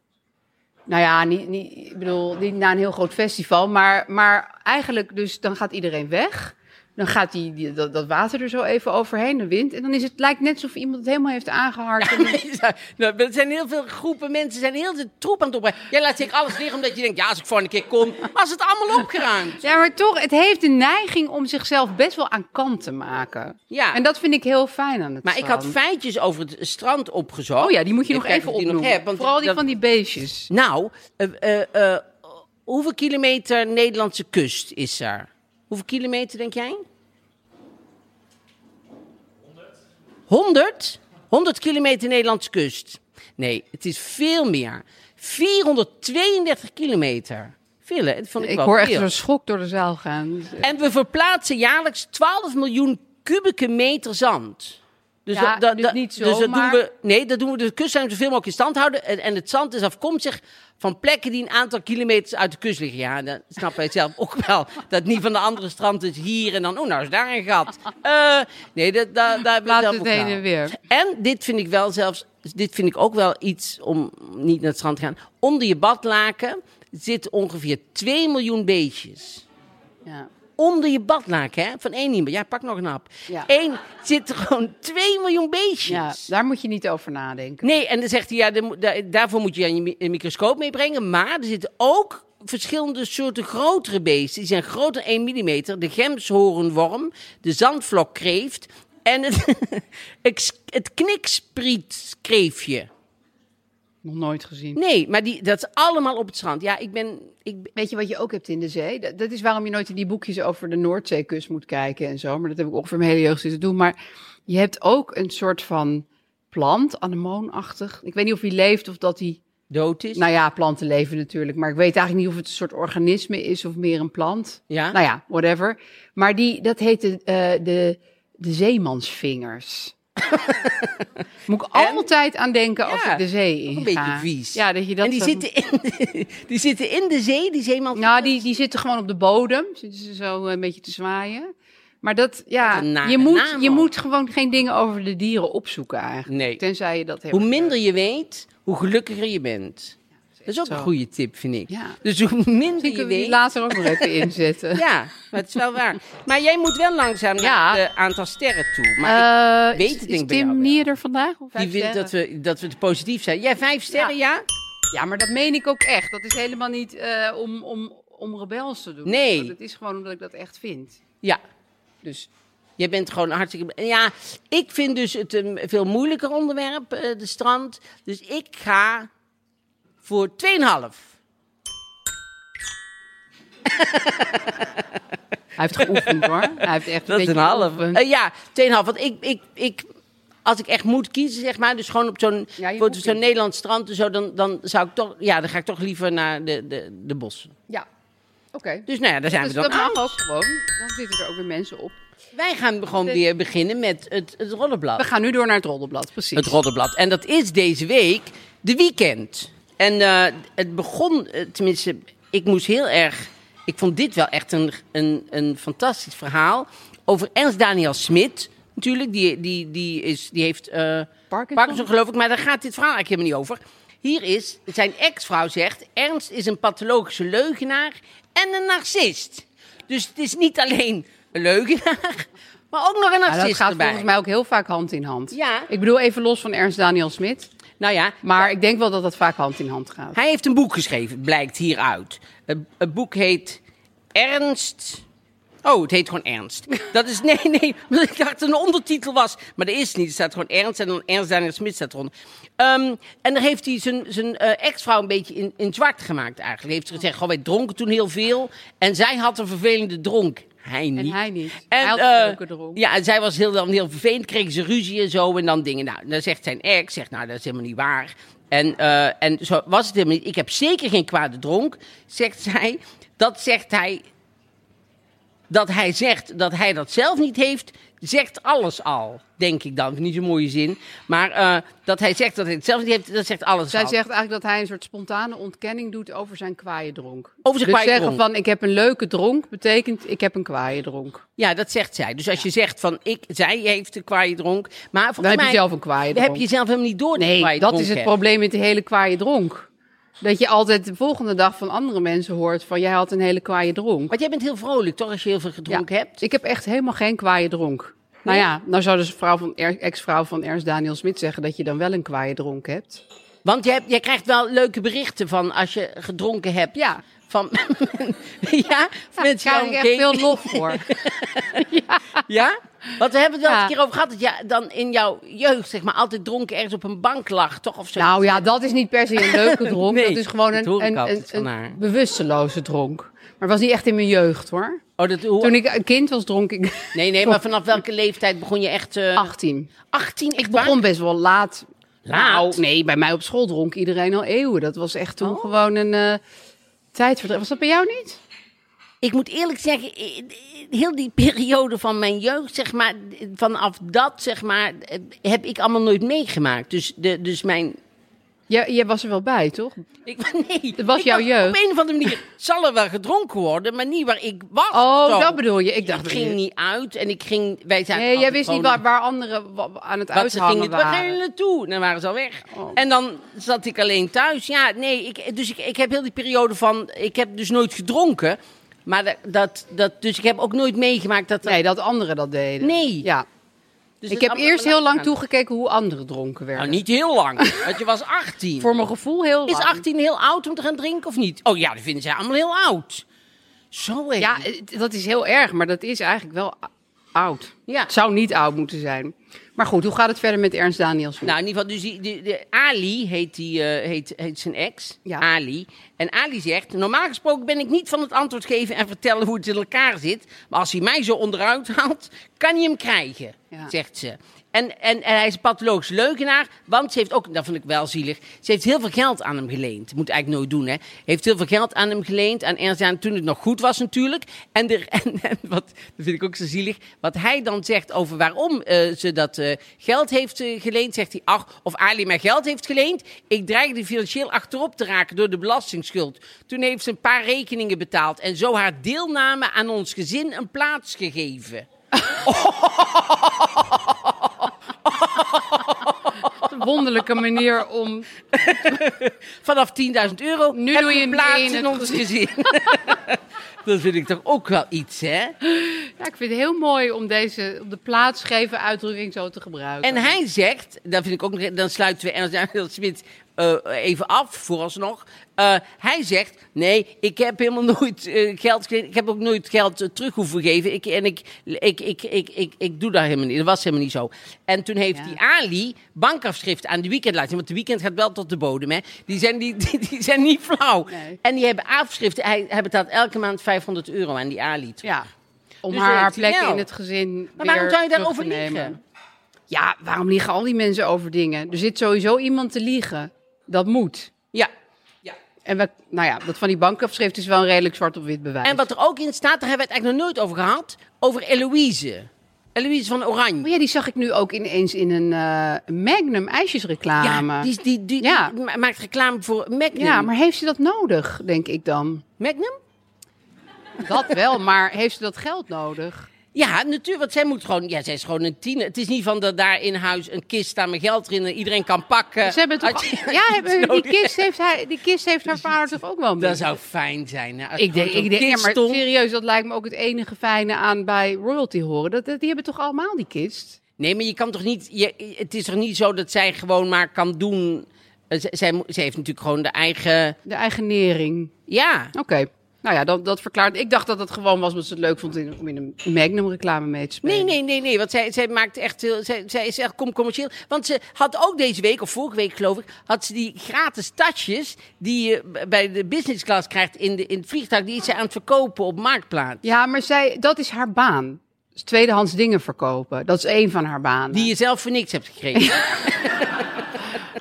S3: Nou ja, niet, niet, ik bedoel, niet na een heel groot festival, maar, maar eigenlijk dus dan gaat iedereen weg. Dan gaat die, die- dat, dat water er zo even overheen, de wind. En dan is het, lijkt net alsof iemand het helemaal heeft aangehard. En dan-
S2: Nou, Er zijn heel veel groepen mensen, zijn heel de troep aan het opruimen. Jij laat zich alles liggen omdat je denkt, ja, als ik volgende keer kom, maar is het allemaal opgeruimd.
S3: Ja, maar toch, het heeft de neiging om zichzelf best wel aan kant te maken.
S2: Ja.
S3: En dat vind ik heel fijn aan het
S2: Maar ik had
S3: strand.
S2: feitjes over het strand opgezocht.
S3: Oh ja, die moet je nog
S2: kijken
S3: even
S2: of ik die
S3: opnoemen.
S2: heb, want
S3: Vooral die
S2: dat-
S3: van die beestjes.
S2: Nou, eh, eh, eh, hoeveel kilometer Nederlandse kust is er? Hoeveel kilometer denk jij? 100? 100 kilometer Nederlandse kust. Nee, het is veel meer. 432 kilometer. Veel, hè? Dat vond ik,
S3: Ik
S2: wel
S3: hoor echt
S2: veel.
S3: zo'n schok door de zaal gaan. Dus, eh,
S2: En we verplaatsen jaarlijks 12 miljoen kubieke meter zand. Dus,
S3: Ja,
S2: dat- dat,
S3: dus
S2: dat-
S3: niet zo,
S2: dus dat
S3: maar-
S2: doen we. Nee, dat doen we. De kustruimte zoveel mogelijk in stand houden. En, en het zand is afkomstig van plekken die een aantal kilometers uit de kust liggen. Ja, dat snappen wij zelf ook wel. Dat niet van de andere strand is hier en dan. Oh, nou is daar een gat. Eh, nee, dat, daar daar hebben we
S3: Laat
S2: zelf
S3: het
S2: ook
S3: heen
S2: wel.
S3: en weer.
S2: En dit vind ik wel zelfs, dit vind ik ook wel iets om niet naar het strand te gaan. Onder je badlaken zitten ongeveer 2 miljoen beestjes
S3: ja.
S2: onder je badlaken, hè? Van één iemand. Ja, pak nog een hap.
S3: Ja.
S2: Eén zit er gewoon 2 miljoen beestjes.
S3: ja, daar moet je niet over nadenken.
S2: Nee, en dan zegt hij, ja, daar moet- daar- daarvoor moet je aan je mi- een microscoop meebrengen. Maar er zitten ook verschillende soorten grotere beesten. Die zijn groter dan 1 mm. De gemshoornworm, de zandvlokkreeft en het, het, het knikspietkreeftje.
S3: Nog nooit gezien.
S2: Nee, maar die, dat is allemaal op het strand. Ja, ik ben... Ik,
S3: Weet je wat je ook hebt in de zee? Dat, dat is waarom je nooit in die boekjes over de Noordzeekust moet kijken en zo. Maar dat heb ik ongeveer mijn hele jeugd zitten doen. Maar je hebt ook een soort van plant, anemoonachtig. Ik weet niet of die leeft of dat die...
S2: dood is.
S3: Nou ja, planten leven natuurlijk. Maar ik weet eigenlijk niet of het een soort organisme is of meer een plant.
S2: Ja.
S3: Nou ja, whatever. Maar die, dat heette eh de, de zeemansvingers. Moet ik altijd aan denken als
S2: Ja,
S3: ik de zee inga.
S2: een beetje vies.
S3: Ja, dat je dat
S2: en die,
S3: zo-
S2: zitten in de, die zitten in de zee, die zeeman.
S3: Nou, die, die zitten gewoon op de bodem. Zitten ze zo eh, een beetje te zwaaien. Maar dat, ja,
S2: Wat een nare
S3: je moet,
S2: naam
S3: je
S2: ook.
S3: moet gewoon geen dingen over de dieren opzoeken eigenlijk.
S2: Nee.
S3: Tenzij je dat hebt.
S2: Hoe minder je weet, hoe gelukkiger je bent. Dat is ook
S3: zo.
S2: een goede tip, vind ik.
S3: Ja.
S2: Dus hoe minder je
S3: Misschien kunnen we die
S2: weet...
S3: later ook nog even inzetten.
S2: Ja, maar het is wel waar. Maar jij moet wel langzaam
S3: Ja.
S2: naar het eh, aantal sterren toe. Maar
S3: Eh,
S2: weet
S3: is-
S2: het
S3: is
S2: denk ik bij jou
S3: Tim
S2: wel.
S3: Nier er vandaag? Of
S2: ik, die
S3: Eh,
S2: wil
S3: vijf
S2: dat
S3: sterren?
S2: we, dat we te positief zijn. Jij vijf sterren, ja?
S3: Ja, maar dat meen ik ook echt. Dat is helemaal niet eh, om, om, om rebels te doen.
S2: Nee.
S3: Dat is gewoon omdat ik dat echt vind.
S2: Ja. Dus jij bent gewoon hartstikke... Ja, ik vind dus het een veel moeilijker onderwerp, eh, de strand. Dus ik ga voor 2,5.
S3: Hij heeft geoefend hoor. Hij heeft echt
S2: Dat is
S3: beetje
S2: een half.
S3: geoefend.
S2: Eh, ja, 2,5. Want ik, ik, ik, als ik echt moet kiezen, zeg maar, dus gewoon op zo'n
S3: Ja, je
S2: voor
S3: moet
S2: zo'n
S3: kiezen.
S2: Nederlands strand en zo, dan, dan zou ik toch, ja, dan ga ik toch liever naar de, de, de bossen.
S3: Ja, oké.
S2: Dus nou ja, daar zijn
S3: Dus
S2: we dan.
S3: dat mag
S2: aan.
S3: ook gewoon. Dan zitten er ook weer mensen op.
S2: Wij gaan gewoon weer beginnen met het, het roddenblad.
S3: We gaan nu door naar het roddelblad, precies.
S2: Het roddenblad. En dat is deze week de weekend. En eh, het begon, eh, tenminste, ik moest heel erg. Ik vond dit wel echt een, een, een fantastisch verhaal. Over Ernst Daniel Smit, natuurlijk. Die, die, die, is, die heeft eh,
S3: Parkinson?
S2: geloof ik. Maar daar gaat dit verhaal eigenlijk helemaal niet over. Hier is, zijn ex-vrouw zegt... Ernst is een pathologische leugenaar en een narcist. Dus het is niet alleen een leugenaar, maar ook nog een
S3: Ja,
S2: narcist
S3: Nou, dat gaat
S2: erbij.
S3: volgens mij ook heel vaak hand in hand.
S2: Ja.
S3: Ik bedoel, even los van Ernst Daniel Smit.
S2: Nou ja,
S3: Maar ik denk wel dat dat vaak hand in hand gaat.
S2: Hij heeft een boek geschreven, blijkt hieruit. Het, het boek heet Ernst. Oh, het heet gewoon Ernst. Dat is, nee, nee, omdat ik dacht dat het een ondertitel was. Maar dat is niet, er staat gewoon Ernst en dan Ernst Daniel Smit staat eronder. Ehm, en daar heeft hij zijn, zijn eh, ex-vrouw een beetje in, in zwart gemaakt eigenlijk. Hij heeft gezegd, goh, wij dronken toen heel veel. En zij had een vervelende dronk. Hij niet.
S3: hij niet. Hij had een
S2: eh,
S3: leuke dronk.
S2: ja, en zij was heel, dan heel vervelend, kregen ze ruzie en zo en dan dingen. Nou, dan zegt zijn ex, zegt nou, dat is helemaal niet waar. En, eh, en zo was het helemaal niet. Ik heb zeker geen kwade dronk, zegt zij. Dat zegt hij, dat hij zegt dat hij dat zelf niet heeft, zegt alles al, denk ik dan. Niet zo'n mooie zin. Maar eh, dat hij zegt dat hij het zelf niet heeft, dat zegt alles
S3: Zij
S2: al.
S3: zegt eigenlijk dat hij een soort spontane ontkenning doet over zijn kwaaie dronk.
S2: Over zijn
S3: dus
S2: kwaaie
S3: zeggen
S2: dronk.
S3: van ik heb een leuke dronk betekent ik heb een kwaaie dronk.
S2: Ja, dat zegt zij. Dus als je zegt van, ik, zij heeft een kwaaie dronk. Maar volgens
S3: Dan heb je
S2: mij
S3: zelf een kwaaie
S2: heb
S3: dronk.
S2: je zelf helemaal niet door. dat je
S3: Nee,
S2: kwaaie
S3: dat
S2: dronk
S3: is het
S2: hebt.
S3: probleem met de hele kwaaie dronk. Dat je altijd de volgende dag van andere mensen hoort van jij had een hele kwaaie dronk.
S2: Want jij bent heel vrolijk, toch? Als je heel veel gedronken hebt.
S3: Ik heb echt helemaal geen kwaaie dronk. Nou ja, nou zou dus een vrouw van Er- ex-vrouw van Ernst Daniel Smit zeggen dat je dan wel een kwaaie dronk hebt.
S2: Want jij, jij krijgt wel leuke berichten van als je gedronken hebt.
S3: Ja,
S2: Van, ja,
S3: Nou, daar
S2: mensen
S3: krijg ik echt veel lof voor.
S2: Ja? Want we hebben het wel
S3: Ja.
S2: eens een keer over gehad. Dat je dan in jouw jeugd, zeg maar, altijd dronken ergens op een bank lag, toch? Of zo.
S3: nou ja, dat is niet per se een leuke dronk.
S2: Nee,
S3: dat is gewoon
S2: dat hoor
S3: een,
S2: ik
S3: een,
S2: altijd
S3: een-
S2: van
S3: een
S2: haar.
S3: bewusteloze dronk. Maar was niet echt in mijn jeugd hoor.
S2: oh, dat, hoe-
S3: Toen ik een kind was, dronk ik
S2: Nee, nee, maar vanaf welke leeftijd begon je echt... eh
S3: 18.
S2: 18, echt
S3: Ik begon best wel laat.
S2: Laat?
S3: Nou, nee, bij mij op school dronk iedereen al eeuwen. Dat was echt
S2: Oh.
S3: toen gewoon een eh tijdverdrijf. Was dat bij jou niet?
S2: Ik moet eerlijk zeggen, eh, eh, heel die periode van mijn jeugd, zeg maar, eh, vanaf dat, zeg maar, eh, heb ik allemaal nooit meegemaakt. Dus, de, dus mijn...
S3: Jij, jij was er wel bij, toch?
S2: Ik, nee,
S3: Dat was
S2: ik
S3: jouw
S2: Op
S3: jeugd.
S2: een of andere manier zal er wel gedronken worden, maar niet waar ik was.
S3: Oh,
S2: zo.
S3: dat bedoel je. Ik dacht,
S2: Ik ging niet uit en ik ging... Wij zaten
S3: Nee, jij
S2: altijd
S3: wist niet
S2: gewoon-
S3: waar, waar anderen wa- aan het
S2: Wat ze
S3: uithangen
S2: gingen waar
S3: waren. Oh.
S2: gaan jullie naartoe? En dan waren ze al weg. En dan zat ik alleen thuis. Ja, nee, ik, dus ik, ik heb heel die periode van... Ik heb dus nooit gedronken. Maar dat- dat, dat, dus ik heb ook nooit meegemaakt dat...
S3: Nee, dat anderen dat deden.
S2: Nee.
S3: Ja.
S2: dus
S3: ik
S2: dat
S3: heb
S2: allemaal
S3: eerst heel lang
S2: aan-
S3: toegekeken hoe anderen dronken werden.
S2: Nou, niet heel lang. Want je was 18.
S3: Voor mijn gevoel heel
S2: Is
S3: lang.
S2: 18 heel oud om te gaan drinken of niet? Oh ja, dat vinden zij allemaal heel oud. Zo hé.
S3: Ja, het- dat is heel erg, maar dat is eigenlijk wel o- oud.
S2: Ja.
S3: Het zou niet oud moeten zijn. Maar goed, hoe gaat het verder met Ernst Daniels?
S2: Nou, in ieder geval, dus die, die- de Ali heet, die, eh, heet, heet zijn ex,
S3: Ja.
S2: Ali. En Ali zegt, normaal gesproken ben ik niet van het antwoord geven en vertellen hoe het in elkaar zit. Maar als hij mij zo onderuit haalt, kan hij hem krijgen,
S3: Ja.
S2: zegt ze. En, en, en hij is een pathologisch leugenaar, want ze heeft ook, dat vond ik wel zielig, ze heeft heel veel geld aan hem geleend. Moet eigenlijk nooit doen, hè. Heeft heel veel geld aan hem geleend, aan Ernst Jan, toen het nog goed was natuurlijk. En, er, en, en wat, dat vind ik ook zo zielig, wat hij dan zegt over waarom eh, ze dat eh, geld heeft eh, geleend, zegt hij, ach, of Ali mij geld heeft geleend, ik dreigde financieel achterop te raken door de belastingsschuld. Toen heeft ze een paar rekeningen betaald en zo haar deelname aan ons gezin een plaats gegeven.
S3: Een wonderlijke manier om...
S2: vanaf 10.000 euro.
S3: Nu
S2: heb
S3: doe
S2: je
S3: je het
S2: plaats
S3: mee
S2: in,
S3: in het
S2: ons gezin. dat vind ik toch ook wel iets, hè?
S3: Ja, ik vind het heel mooi om deze op de plaats geven uitdrukking zo te gebruiken.
S2: En hij zegt, dat vind ik ook, nog- dan sluiten we Ernst Daniel Smit eh, even af, vooralsnog. Eh, hij zegt, nee, ik heb helemaal nooit eh, geld gekregen. Ik heb ook nooit geld eh, terug hoeven geven. Ik, en ik, ik, ik, ik, ik, ik doe daar helemaal niet. Dat was helemaal niet zo. En toen heeft
S3: Ja.
S2: die Ali bankafschriften aan de weekend laten zien. Want de weekend gaat wel tot de bodem, hè. Die zijn, die, die, die zijn niet flauw.
S3: Nee.
S2: En die hebben afschriften. Hij, hij betaalt elke maand 500 euro aan die Ali. terug.
S3: Ja, om
S2: Dus
S3: haar,
S2: dan
S3: haar
S2: heeft hij
S3: plek
S2: wel.
S3: in het gezin
S2: Maar waarom
S3: weer
S2: zou je
S3: terug
S2: daarover
S3: te nemen.
S2: liegen?
S3: Ja, waarom liegen al die mensen over dingen? Er zit sowieso iemand te liegen. Dat moet.
S2: Ja. ja.
S3: En we, nou ja, dat van die bankafschrift is wel een redelijk zwart op wit bewijs.
S2: En wat er ook in staat, daar hebben we het eigenlijk nog nooit over gehad, over Eloïse. Eloïse van
S3: Oh
S2: Oranje.
S3: ja, die zag ik nu ook ineens in een eh, Magnum ijsjesreclame.
S2: Ja, die, die, die,
S3: Ja.
S2: die ma- maakt reclame voor Magnum.
S3: Ja, maar heeft ze dat nodig, denk ik dan?
S2: Magnum?
S3: Dat wel, maar heeft ze dat geld nodig?
S2: Ja, natuurlijk, want zij moet gewoon... Ja, zij is gewoon een tiener. Het is niet van dat daar in huis een kist staat met geld erin en iedereen kan pakken.
S3: Ze hebben
S2: Als
S3: toch,
S2: je-
S3: ja,
S2: iets
S3: hebben, die,
S2: nodig
S3: kist heeft hij, die kist heeft haar vader toch ook wel een
S2: Dat
S3: beetje?
S2: zou fijn zijn. Hè? Als
S3: Ik denk,
S2: gewoon zo'n
S3: ik denk ja,
S2: kist
S3: maar
S2: stond.
S3: serieus, dat lijkt me ook het enige fijne aan bij royalty horen. Dat, dat- die hebben toch allemaal die kist?
S2: Nee, maar je kan toch niet. Je, het is toch niet zo dat zij gewoon maar kan doen. eh, z- Zij, mo- zij heeft natuurlijk gewoon de eigen.
S3: De eigen nering.
S2: Ja.
S3: Oké. Nou ja, dat, dat verklaart. Ik dacht dat het gewoon was omdat ze het leuk vond in- om in een Magnum-reclame mee te spelen.
S2: Nee, nee, nee, nee. Want zij, zij maakt echt heel. Zij, zij is echt kom commercieel. Want ze had ook deze week, of vorige week geloof ik, had ze die gratis tasjes. die je b- bij de business class krijgt in, de, in het vliegtuig. die is ze aan het verkopen op Marktplaats.
S3: Ja, maar zij, dat is haar baan. Dus tweedehands dingen verkopen. Dat is één van haar banen.
S2: Die je zelf voor niks hebt gekregen.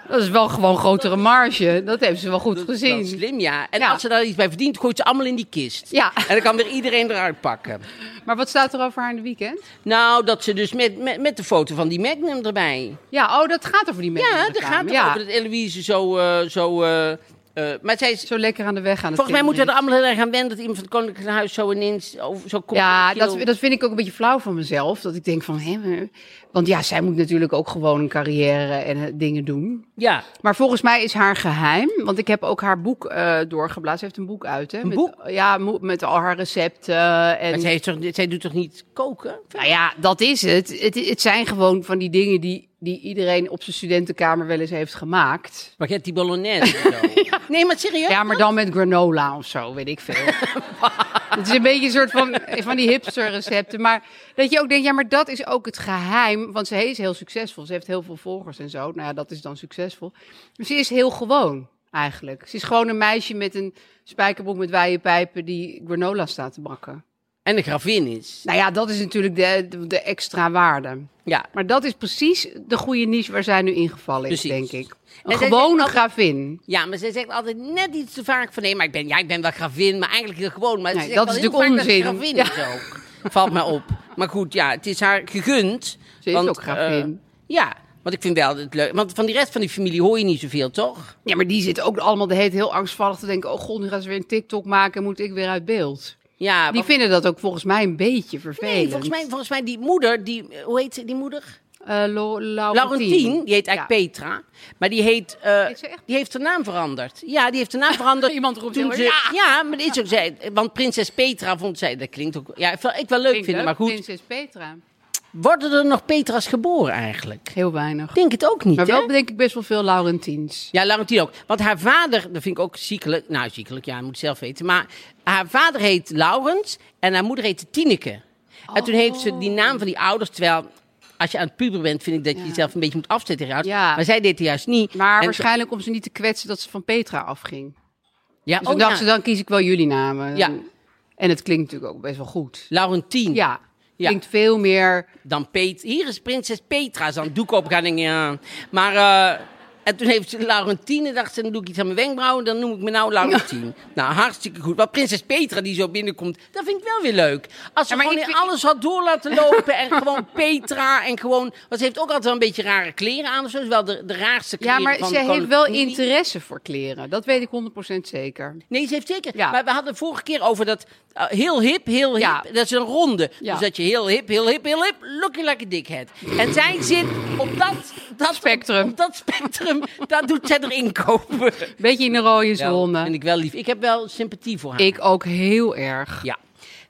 S3: Dat is wel gewoon grotere marge. Dat heeft ze wel goed
S2: Dat is wel
S3: gezien.
S2: slim, ja. En
S3: Ja.
S2: als ze daar iets bij verdient, gooit ze allemaal in die kist.
S3: Ja.
S2: En dan kan weer iedereen eruit pakken.
S3: Maar wat staat er over haar in de weekend?
S2: Nou, dat ze dus met, met, met de foto van die Magnum erbij.
S3: Ja, oh, dat gaat over die mensen.
S2: Ja, dat gaat
S3: ja.
S2: over dat Eloïse zo, eh, zo eh, Eh, maar zij is,
S3: Zo lekker aan de weg aan het
S2: volgens mij moeten we er
S3: timmeren
S2: allemaal heel erg aan wennen dat iemand van het Koninklijk Huis zo ineens over, zo komt.
S3: Ja, dat, dat vind ik ook een beetje flauw van mezelf. Dat ik denk van, hè, hè. want ja, zij moet natuurlijk ook gewoon een carrière en eh, dingen doen.
S2: ja.
S3: Maar volgens mij is haar geheim, want ik heb ook haar boek eh doorgeblazen. Ze heeft een boek uit, hè? Een
S2: boek?
S3: Ja, mo- met al haar recepten.
S2: Maar
S3: En,
S2: zij, heeft toch, zij doet toch niet koken?
S3: nou ja, dat is het. het. Het zijn gewoon van die dingen die, die iedereen op zijn studentenkamer wel eens heeft gemaakt.
S2: Spaghetti bolognese. en zo. Nee, maar serieus.
S3: Ja, maar dan met granola of zo, weet ik veel. Het is een beetje een soort van, van die hipster recepten. Maar dat je ook denkt, ja, maar dat is ook het geheim. Want ze is heel succesvol. Ze heeft heel veel volgers en zo. Nou ja, dat is dan succesvol. Maar ze is heel gewoon, eigenlijk. Ze is gewoon een meisje met een spijkerbroek met wijde pijpen die granola staat te bakken.
S2: En de gravin is.
S3: Nou ja, dat is natuurlijk de, de, de extra waarde.
S2: Ja.
S3: Maar dat is precies de goede niche waar zij nu ingevallen is,
S2: Precies.
S3: denk ik.
S2: En
S3: Een
S2: zij
S3: gewone
S2: zegt altijd-
S3: gravin.
S2: Ja, maar zij zegt altijd net iets te vaak van... nee, maar ik ben, ja, ik ben wel gravin, maar eigenlijk heel gewoon. Maar ze
S3: Nee,
S2: zegt
S3: dat is
S2: wel heel vaak
S3: natuurlijk
S2: dat
S3: onzin.
S2: ze gravin is ook. Valt mij op. Maar goed, ja, het is haar gegund.
S3: Ze is ook gravin.
S2: eh, ja, want ik vind wel het leuk. Want van die rest van die familie hoor je niet zoveel, toch?
S3: Ja, maar die zitten ook allemaal de hele tijd heel angstvallig te denken... oh god, nu gaan ze weer een TikTok maken en moet ik weer uit beeld.
S2: Ja,
S3: Die
S2: want-
S3: vinden dat ook volgens mij een beetje vervelend.
S2: Nee, volgens mij, volgens mij die moeder, die, eh, hoe heet ze, die moeder?
S3: Eh, Lo- Laurentien.
S2: Laurentien, die heet eigenlijk
S3: Ja.
S2: Petra. Maar die heet, eh,
S3: Heet ze echt?
S2: die heeft haar naam veranderd. Ja, die heeft haar naam veranderd.
S3: Iemand roept
S2: toen ze,
S3: heel hard,
S2: ja, maar dat is ook zij. Want prinses Petra vond zij, dat klinkt ook, ja, ik wel- ik wel leuk
S3: Klinkt
S2: vinden,
S3: leuk,
S2: maar goed.
S3: Prinses Petra.
S2: Worden er nog Petra's geboren eigenlijk? Ik
S3: Heel weinig.
S2: denk het ook niet,
S3: Maar
S2: hè?
S3: wel denk ik best wel veel Laurentiens.
S2: Ja, Laurentien ook. Want haar vader, dat vind ik ook ziekelijk. Nou, ziekelijk, ja, je moet het zelf weten. Maar haar vader heet Laurens en haar moeder heette Tineke. En toen heeft
S3: Oh.
S2: ze die naam van die ouders, terwijl... Als je aan het puber bent, vind ik dat je
S3: Ja.
S2: jezelf een beetje moet afzetten tegen je ouders.
S3: Ja.
S2: Maar zij deed het juist niet.
S3: Maar
S2: En-
S3: waarschijnlijk om ze niet te kwetsen dat ze van Petra afging.
S2: Ja,
S3: Dus
S2: oh,
S3: toen dacht
S2: ja.
S3: ze, dan kies ik wel jullie namen.
S2: Ja.
S3: En het klinkt natuurlijk ook best wel goed.
S2: Laurentien.
S3: Ja,
S2: Ja.
S3: klinkt veel meer...
S2: Dan Pet Hier is prinses Petra. Zo'n doek op gaan denken, ja. Maar... eh, en toen heeft ze Laurentine, dacht ze, dan doe ik iets aan mijn wenkbrauwen, dan noem ik me nou Laurentine. Nou, hartstikke goed. Maar prinses Petra die zo binnenkomt, dat vind ik wel weer leuk. Als ze
S3: Ja, maar
S2: gewoon
S3: ik
S2: in
S3: vind-
S2: alles had door laten lopen en gewoon Petra en gewoon... Want ze heeft ook altijd wel een beetje rare kleren aan of zo. Het is wel de, de raarste kleren
S3: Ja, maar
S2: van
S3: ze heeft
S2: koninklijke
S3: wel
S2: familie.
S3: interesse voor kleren. Dat weet ik 100% zeker.
S2: Nee, ze heeft zeker.
S3: Ja.
S2: Maar we hadden vorige keer over dat eh, heel hip, heel hip.
S3: Ja.
S2: Dat is een ronde.
S3: Ja.
S2: Dus dat je heel hip, heel hip, heel hip, looking like a dickhead. En zij zit op dat, dat
S3: Spectrum.
S2: Op, dat spectrum, daar doet zij er inkopen.
S3: Beetje in de rode
S2: Dat vind
S3: zone.
S2: ik wel lief. Ik heb wel sympathie voor haar.
S3: eh, Ik ook heel erg.
S2: Ja.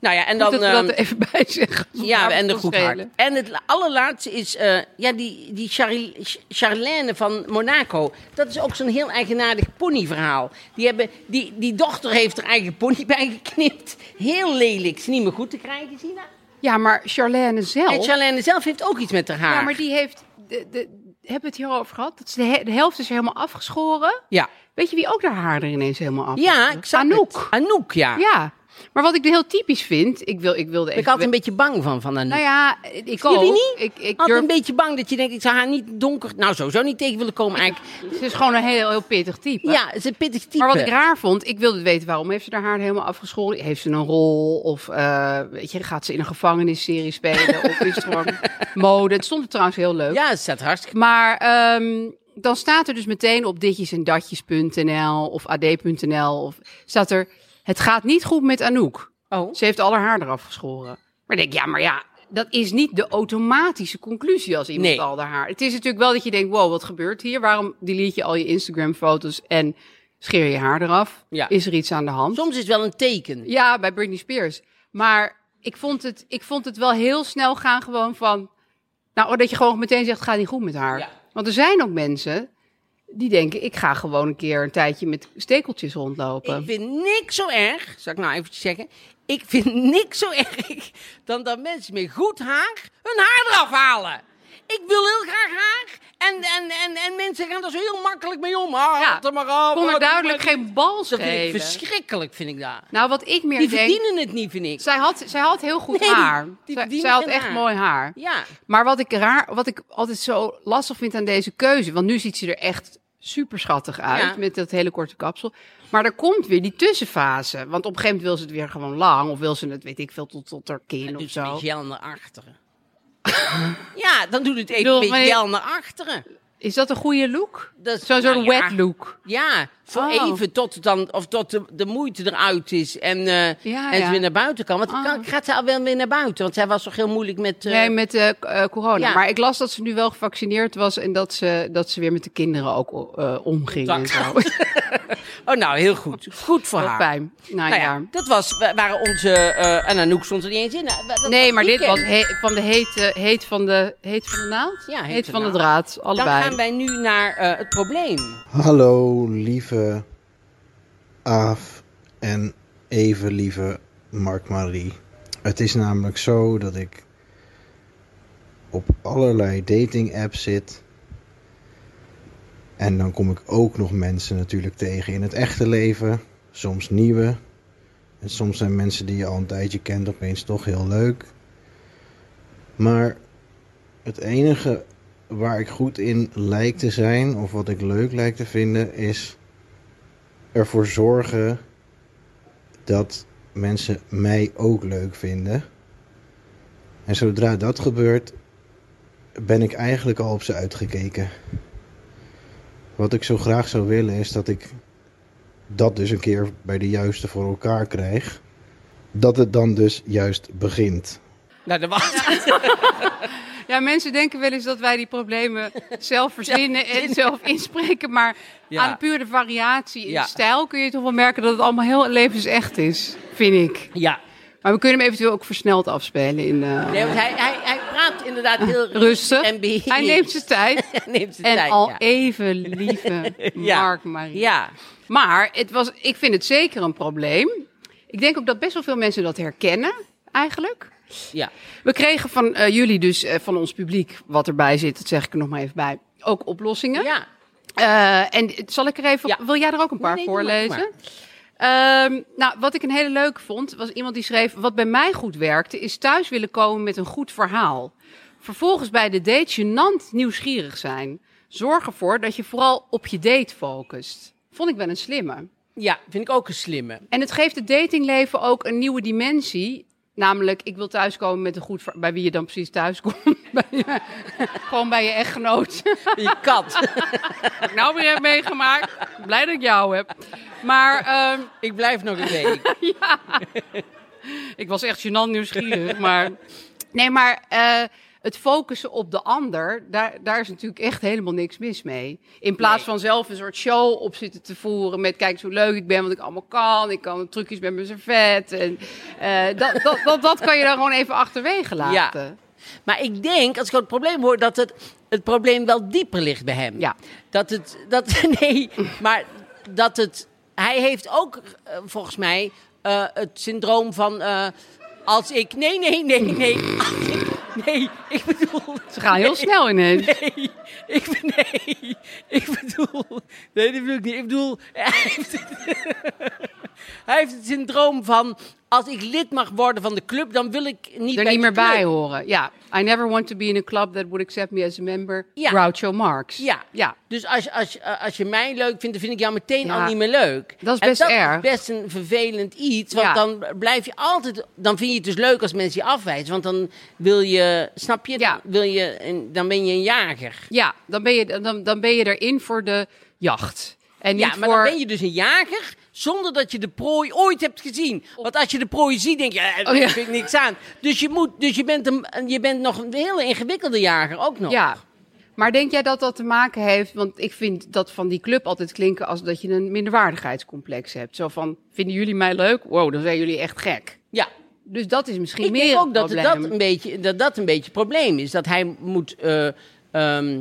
S2: Nou ja, en
S3: Goed
S2: dan...
S3: dat we dat
S2: ehm,
S3: er even bij zeggen.
S2: ja, en de goed haar.
S3: goedheid.
S2: En het la- allerlaatste is eh, ja, die, die Charil- Ch- Charlène van Monaco. Dat is ook zo'n heel eigenaardig ponyverhaal. Die, hebben, die, die dochter heeft haar eigen pony bijgeknipt. Heel lelijk. Is niet meer goed te krijgen, zie je dat?
S3: Ja, maar Charlène
S2: En
S3: zelf.
S2: Charlène zelf heeft ook iets met haar haar.
S3: Ja, maar die heeft. De, de, hebben we het hier al over gehad? Dat is de, he- de helft is helemaal afgeschoren.
S2: Ja,
S3: Weet je wie ook haar haar er ineens helemaal af?
S2: ja ik zag
S3: Anouk.
S2: het. Anouk, ja.
S3: Ja. Maar wat ik heel typisch vind, ik wil, ik wilde
S2: Ben ik
S3: even.
S2: altijd een beetje bang van, van Anouk.
S3: Nou ja, ik ook.
S2: Jullie niet?
S3: Ik, ik
S2: altijd
S3: durf.
S2: een beetje bang dat je denkt, ik zou haar niet donker... Nou, sowieso niet tegen willen komen eigenlijk.
S3: Ze is gewoon een heel, heel pittig type.
S2: Ja, ze is een pittig type.
S3: Maar wat ik raar vond, ik wilde weten waarom heeft ze haar haar helemaal afgeschoren? Heeft ze een rol? Of eh, weet je, gaat ze in een gevangenisserie spelen? of is het gewoon mode? Het stond er trouwens heel leuk.
S2: Ja, ze staat hartstikke...
S3: Maar ehm, dan staat er dus meteen op ditjes en datjes.nl of ad.nl of staat er het gaat niet goed met Anouk.
S2: Oh.
S3: Ze heeft al haar haar eraf geschoren. Maar ik denk ja, maar ja, dat is niet de automatische conclusie als iemand
S2: Nee.
S3: al haar haar. Het is natuurlijk wel dat je denkt wow, wat gebeurt hier? Waarom delete je al je Instagram foto's en scheer je haar eraf?
S2: Ja.
S3: Is er iets aan de hand?
S2: Soms is het wel een teken.
S3: Ja, bij Britney Spears. Maar ik vond het, ik vond het wel heel snel gaan gewoon van... Nou, dat je gewoon meteen zegt, gaat niet goed met haar.
S2: Ja.
S3: Want er zijn ook mensen die denken... ik ga gewoon een keer een tijdje met stekeltjes rondlopen.
S2: Ik vind niks zo erg, zal ik nou eventjes zeggen. Ik vind niks zo erg dan dat mensen met goed haar hun haar eraf halen. Ik wil heel graag haar en, en, en, en mensen gaan er zo heel makkelijk mee om. Ah,
S3: Ja,
S2: haal er maar af.
S3: kon
S2: ah,
S3: er
S2: doe
S3: duidelijk
S2: maar.
S3: geen bal
S2: Dat vind ik
S3: schelen.
S2: verschrikkelijk, vind ik dat.
S3: Nou, wat ik meer
S2: Die
S3: denk...
S2: verdienen het niet, vind ik.
S3: Zij had, zij had heel goed
S2: Nee,
S3: haar.
S2: die
S3: Zij-
S2: verdienen
S3: zij had
S2: geen
S3: echt
S2: haar.
S3: mooi haar.
S2: Ja,
S3: Maar wat ik, raar, wat ik altijd zo lastig vind aan deze keuze, want nu ziet ze er echt super schattig uit
S2: Ja.
S3: met dat hele korte kapsel. Maar er komt weer die tussenfase. Want op een gegeven moment wil ze het weer gewoon lang, of wil ze het, weet ik veel, tot, tot haar kin
S2: doet
S3: of
S2: ze dus een
S3: zo.
S2: beetje jel naar achteren. ja, dan doet het even
S3: bedoel,
S2: een beetje
S3: maar je-
S2: jel naar achteren.
S3: Is dat een goede look?
S2: Dat is-
S3: Zo'n soort
S2: nou ja.
S3: wet look.
S2: Ja, Voor
S3: Oh.
S2: even tot, het dan, of tot de, de moeite eruit is en, eh,
S3: Ja,
S2: en
S3: ja.
S2: ze weer naar buiten kan. Want
S3: Ah.
S2: kan, gaat ze al wel weer naar buiten? Want zij was toch heel moeilijk met... eh,
S3: Nee, met eh, k- eh, corona.
S2: ja.
S3: Maar ik las dat ze nu wel gevaccineerd was en dat ze, dat ze weer met de kinderen ook eh omging. en
S2: Contact
S3: zo.
S2: Oh, nou, heel goed. Goed voor
S3: Wat
S2: haar.
S3: pijn. Nou,
S2: Nou
S3: ja.
S2: ja, dat was, wa- waren onze... eh en Anouk stond er niet eens in. Nou, wa- dat
S3: Nee, maar dit
S2: weekend.
S3: was he- van de heet, eh, heet, van de, heet van de naald?
S2: Ja, heet
S3: heet,
S2: van
S3: van
S2: de
S3: de draad.
S2: Dan
S3: Allebei.
S2: gaan wij nu naar eh, het probleem.
S4: Hallo lieve Aaf en even lieve Mark-Marie. Het is namelijk zo dat ik op allerlei dating apps zit. En dan kom ik ook nog mensen natuurlijk tegen in het echte leven. Soms nieuwe. En soms zijn mensen die je al een tijdje kent opeens toch heel leuk. Maar het enige waar ik goed in lijk te zijn, of wat ik leuk lijk te vinden, is ervoor zorgen dat mensen mij ook leuk vinden. En zodra dat gebeurt, ben ik eigenlijk al op ze uitgekeken. Wat ik zo graag zou willen is dat ik dat dus een keer bij de juiste voor elkaar krijg. Dat het dan dus juist begint.
S2: Nou, dat was...
S3: Ja, mensen denken wel eens dat wij die problemen zelf verzinnen en zelf inspreken. Maar
S2: Ja.
S3: aan de pure variatie in
S2: Ja.
S3: stijl kun je toch wel merken dat het allemaal heel levensecht is, vind ik.
S2: Ja.
S3: Maar we kunnen hem eventueel ook versneld afspelen in eh,
S2: Nee, want hij, hij, hij praat inderdaad heel
S3: rustig.
S2: en beheerst.
S3: Hij neemt zijn tijd.
S2: Hij neemt zijn
S3: En
S2: tijd,
S3: al
S2: ja.
S3: even lieve
S2: Ja.
S3: Mark Marie.
S2: Ja.
S3: Maar het was, ik vind het zeker een probleem. Ik denk ook dat best wel veel mensen dat herkennen, eigenlijk.
S2: ja.
S3: We kregen van eh, jullie dus, eh, van ons publiek, wat erbij zit, dat zeg ik er nog maar even bij, ook oplossingen.
S2: Ja.
S3: Eh, en het- zal ik er even,
S2: Ja.
S3: wil jij er ook een paar
S2: Nee, nee, doe maar, doe
S3: voorlezen? Ehm, nou, wat ik een hele leuke vond, was iemand die schreef: Wat bij mij goed werkte, is thuis willen komen met een goed verhaal. Vervolgens bij de date gênant nieuwsgierig zijn. Zorg ervoor dat je vooral op je date focust. Vond ik wel een slimme.
S2: Ja, vind ik ook een slimme.
S3: En het geeft het datingleven ook een nieuwe dimensie. Namelijk, ik wil thuiskomen met een goed... ver- Bij wie je dan precies thuis komt. Bij je- gewoon bij je echtgenoot.
S2: Je kat.
S3: Wat ik nou weer heb meegemaakt. Blij dat ik jou heb. Maar ehm,
S2: ik blijf nog een week.
S3: ik was echt gênant nieuwsgierig. Maar... Nee, maar eh, het focussen op de ander... Daar, daar is natuurlijk echt helemaal niks mis mee. In plaats
S2: Nee.
S3: van zelf een soort show op zitten te voeren... met kijk eens hoe leuk ik ben, wat ik allemaal kan. Ik kan trucjes met mijn servet. En, eh, dat, dat, dat, dat kan je dan gewoon even achterwege laten.
S2: Maar ik denk, als ik het probleem hoor, dat het, het probleem wel dieper ligt bij hem.
S3: Ja.
S2: Dat het, dat, nee, maar dat het, hij heeft ook eh, volgens mij eh, het syndroom van eh, als ik, nee, nee, nee, nee, als ik, nee, ik bedoel.
S3: Ze gaan heel snel ineens.
S2: Nee, ik, ben- nee, ik bedoel. Nee, dat bedoel ik niet. Ik bedoel. Hij heeft, hij heeft het syndroom van. Als ik lid mag worden van de club, dan wil ik niet.
S3: er
S2: bij
S3: niet meer
S2: die club.
S3: bij horen. Ja. I never want to be in a club that would accept me as a member.
S2: Ja.
S3: Groucho Marx.
S2: Ja.
S3: ja.
S2: Dus als, als, als je mij leuk vindt, dan vind ik jou meteen
S3: Ja.
S2: al niet meer leuk.
S3: Dat is
S2: En
S3: best erg.
S2: Dat is best een vervelend iets. Want
S3: Ja.
S2: dan blijf je altijd. Dan vind je het dus leuk als mensen je afwijzen. Want dan wil je. Snap je?
S3: Ja.
S2: Wil je een- dan ben je een jager.
S3: Ja, dan ben, je, dan, dan ben je erin voor de jacht. En niet
S2: Ja, maar
S3: voor...
S2: dan ben je dus een jager zonder dat je de prooi ooit hebt gezien. Want als je de prooi ziet, denk je, eh, daar
S3: Oh, ja.
S2: vind ik niks aan. Dus je, moet, dus je, bent een, je bent nog een hele ingewikkelde jager ook nog.
S3: Ja. Maar denk jij dat dat te maken heeft... Want ik vind dat van die club altijd klinken als dat je een minderwaardigheidscomplex hebt. Zo van, vinden jullie mij leuk? Wow, dan zijn jullie echt gek.
S2: Ja.
S3: Dus dat is misschien
S2: Ik
S3: meer
S2: denk ook
S3: het
S2: dat het dat
S3: probleem.
S2: een, beetje, dat dat een beetje het probleem is. Dat hij moet... eh, ehm,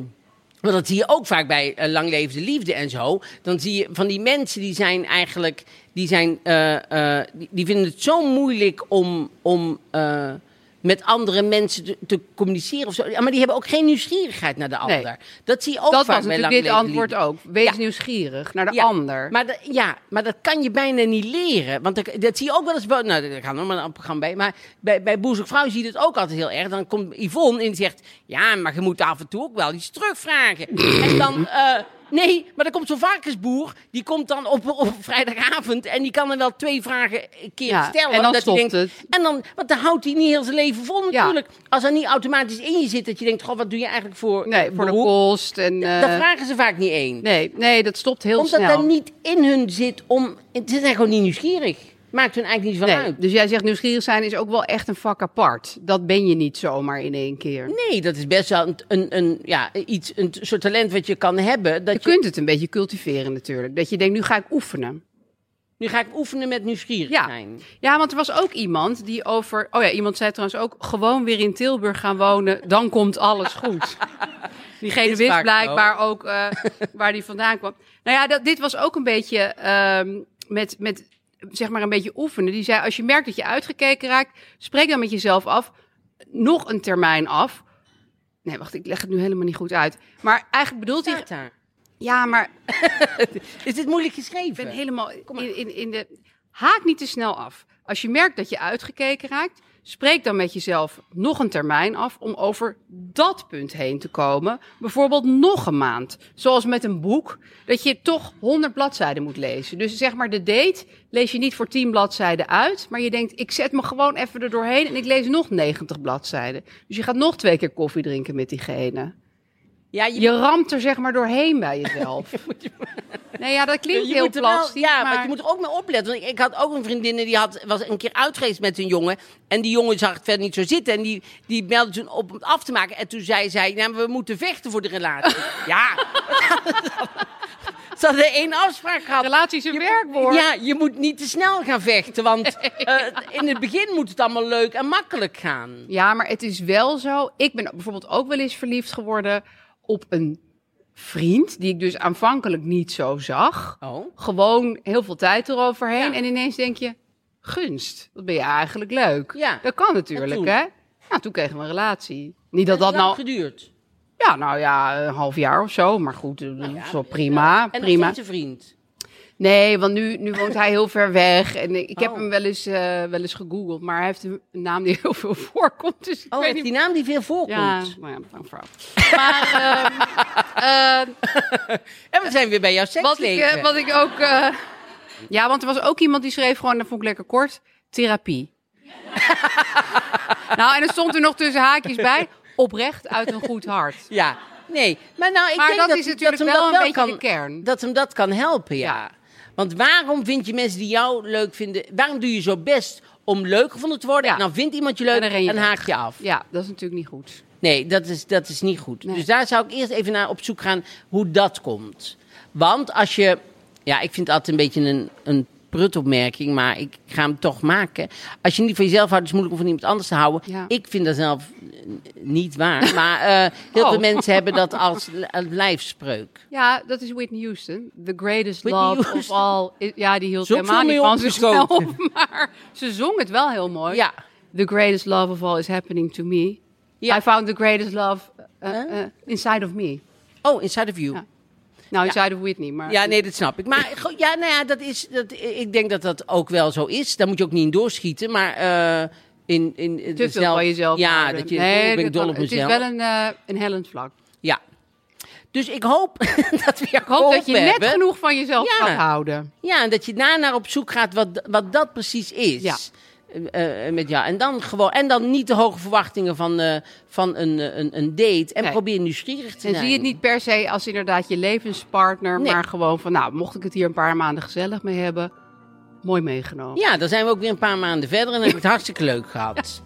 S2: want dat zie je ook vaak bij eh, langlevende liefde en zo. Dan zie je van die mensen die zijn eigenlijk... Die, zijn, eh, eh, die, die vinden het zo moeilijk om, om eh, met andere mensen te, te communiceren. Of zo. Ja, Maar die hebben ook geen nieuwsgierigheid naar de
S3: Nee.
S2: ander. Dat zie je ook
S3: dat
S2: vaak
S3: was
S2: bij
S3: natuurlijk dit
S2: langlevende
S3: antwoord
S2: liefde.
S3: ook. Wees
S2: Ja.
S3: nieuwsgierig naar de
S2: Ja,
S3: ander.
S2: Maar dat, ja, maar dat kan je bijna niet leren. Want dat, dat zie je ook wel eens. bij- Nou, daar gaan we maar een programma bij. Maar bij, bij Boezig Vrouw zie je dat ook altijd heel erg. Dan komt Yvonne in en zegt: Ja, maar je moet af en toe ook wel iets terugvragen. en dan. eh, Nee, maar er komt zo'n varkensboer. Die komt dan op, op vrijdagavond. En die kan dan wel twee vragen een keer
S3: Ja,
S2: stellen.
S3: en dan
S2: dat hij
S3: stopt
S2: denkt-
S3: het.
S2: En dan, want dan houdt hij niet heel zijn leven vol
S3: Ja.
S2: natuurlijk. Als er niet automatisch in je zit dat je denkt... Goh, wat doe je eigenlijk voor
S3: Nee,
S2: eh,
S3: voor de
S2: beroep?"
S3: kost. En, eh,
S2: Dat vragen ze vaak niet één.
S3: nee, nee, dat stopt heel
S2: Omdat
S3: snel.
S2: dat niet in hun zit om... Ze zijn gewoon niet nieuwsgierig. Maakt hun eigenlijk niet van
S3: nee.
S2: uit.
S3: Dus jij zegt nieuwsgierig zijn is ook wel echt een vak apart. Dat ben je niet zomaar in één keer.
S2: Nee, dat is best wel een, een, een, ja, iets, een soort talent wat je kan hebben. Dat
S3: Je kunt het een beetje cultiveren natuurlijk. Dat je denkt, nu ga ik oefenen.
S2: Nu ga ik oefenen met nieuwsgierig
S3: Ja.
S2: zijn.
S3: Ja, want er was ook iemand die over... Oh ja, iemand zei trouwens ook, gewoon weer in Tilburg gaan wonen, dan komt alles goed. Diegene wist
S2: vaak
S3: blijkbaar ook eh, waar die vandaan kwam. Nou ja, dat, dit was ook een beetje ehm, met, met, zeg maar, een beetje oefenen. Die zei, als je merkt dat je uitgekeken raakt, spreek dan met jezelf af, nog een termijn af. Nee, wacht, ik leg het nu helemaal niet goed uit. Maar eigenlijk bedoelt hij...
S2: Staat daar.
S3: Ja, maar
S2: Is dit moeilijk geschreven?
S3: Ik ben helemaal in, in, in de. Haak niet te snel af. Als je merkt dat je uitgekeken raakt, spreek dan met jezelf nog een termijn af om over dat punt heen te komen. Bijvoorbeeld nog een maand. Zoals met een boek, dat je toch 100 bladzijden moet lezen. Dus zeg maar, de date lees je niet voor 10 bladzijden uit, maar je denkt, ik zet me gewoon even er doorheen en ik lees nog 90 bladzijden. Dus je gaat nog twee keer koffie drinken met diegene.
S2: Ja, je,
S3: Je ramt er zeg maar doorheen bij jezelf. Nee, ja, dat klinkt
S2: je
S3: heel
S2: moet er wel-
S3: plastisch.
S2: ja,
S3: maar
S2: maar je moet er ook mee opletten. Want ik, ik had ook een vriendin die had, was een keer uit geweest met een jongen. En die jongen zag het verder niet zo zitten. En die, die meldde toen op om het af te maken. En toen zei zij, nou, maar we moeten vechten voor de relatie. ja. Ze hadden één afspraak gehad.
S3: Relatie is een werkwoord.
S2: Ja, je moet niet te snel gaan vechten. Want eh, in het begin moet het allemaal leuk en makkelijk gaan.
S3: Ja, maar het is wel zo. Ik ben bijvoorbeeld ook wel eens verliefd geworden op een vriend, die ik dus aanvankelijk niet zo zag.
S2: Oh.
S3: Gewoon heel veel tijd eroverheen
S2: Ja.
S3: en ineens denk je, gunst, wat ben je eigenlijk leuk.
S2: Ja.
S3: Dat kan
S2: En
S3: natuurlijk,
S2: toen?
S3: hè. Nou, toen kregen we een relatie. Niet dat dat
S2: lang
S3: nou...
S2: geduurd.
S3: Ja, nou ja, een half jaar of zo, maar goed,
S2: Nou
S3: eh, dat is wel prima,
S2: En
S3: prima.
S2: nog steeds een vriend.
S3: Nee, want nu, nu woont hij heel ver weg. En ik heb
S2: Oh.
S3: hem wel eens, eh, wel eens gegoogeld, maar hij heeft een een naam die heel veel voorkomt. Dus ik
S2: Oh,
S3: weet
S2: heeft
S3: niet
S2: die naam die veel voorkomt.
S3: ja, maar ja, lang verhaal. Maar ehm, eh,
S2: En we zijn weer bij jouw
S3: wat, ik,
S2: seksleven.
S3: eh, wat ik ook... eh, ja, want er was ook iemand die schreef gewoon, dat vond ik lekker kort, therapie. nou, en er stond er nog tussen haakjes bij, oprecht uit een goed hart.
S2: Ja, nee. Maar, nou, ik
S3: Maar
S2: denk
S3: dat
S2: dat
S3: is natuurlijk
S2: dat hem
S3: wel
S2: dat
S3: een beetje
S2: kan,
S3: de kern.
S2: Dat hem dat kan helpen, ja.
S3: Ja.
S2: Want waarom vind je mensen die jou leuk vinden... Waarom doe je zo best om leuk gevonden te worden?
S3: Ja.
S2: En dan vindt iemand je leuk
S3: En dan
S2: en,
S3: ren je weg.
S2: haak je af.
S3: Ja, dat is natuurlijk niet goed.
S2: Nee, dat is, dat is niet goed.
S3: Nee.
S2: Dus daar zou ik eerst even naar op zoek gaan hoe dat komt. Want als je... Ja, ik vind het altijd een beetje een, een prutopmerking, maar ik ga hem toch maken. Als je niet van jezelf houdt, is het moeilijk om van iemand anders te houden.
S3: Ja.
S2: Ik vind dat zelf eh, niet waar. Maar eh, heel
S3: Oh.
S2: veel mensen hebben dat als l- als lijfspreuk.
S3: Ja, dat is Whitney Houston. The greatest
S2: Whitney
S3: love
S2: Houston.
S3: of all. I- Ja, die hield
S2: Ze ook
S3: helemaal
S2: veel
S3: niet
S2: mee
S3: van zichzelf.
S2: opgeschoten.
S3: Maar ze zong het wel heel mooi.
S2: Ja.
S3: The greatest love of all is happening to me.
S2: Ja.
S3: I found the greatest love uh, uh, inside of me.
S2: Oh, inside of you.
S3: Ja. Nou, inside of Whitney, maar...
S2: Ja, nee, dat snap ik. Maar go- ja, nou ja, dat is, dat, ik denk dat dat ook wel zo is. Daar moet je ook niet in doorschieten. Maar eh, in, in, in
S3: Te veel
S2: dus zelf-
S3: van jezelf
S2: Ja,
S3: houden.
S2: dat je oh,
S3: Nee,
S2: ik ben
S3: dat
S2: dol
S3: kan-
S2: op mezelf.
S3: Het is wel een, eh een hellend vlak.
S2: Ja. Dus ik hoop dat Oh, we jou
S3: Ik hoop dat je net
S2: hebben.
S3: genoeg van jezelf
S2: Ja.
S3: gaat houden.
S2: Ja, en dat je daarna op zoek gaat wat, wat dat precies is.
S3: Ja.
S2: Eh, eh, met jou. En, dan gewoon, en dan niet de hoge verwachtingen van, eh, van een, eh, een, een date. En
S3: Nee.
S2: probeer nieuwsgierig te
S3: En
S2: zijn.
S3: zie het niet per se als inderdaad je levenspartner,
S2: Nee.
S3: maar gewoon van, nou, mocht ik het hier een paar maanden gezellig mee hebben, mooi meegenomen.
S2: Ja, dan zijn we ook weer een paar maanden verder en dan heb ik het hartstikke leuk gehad.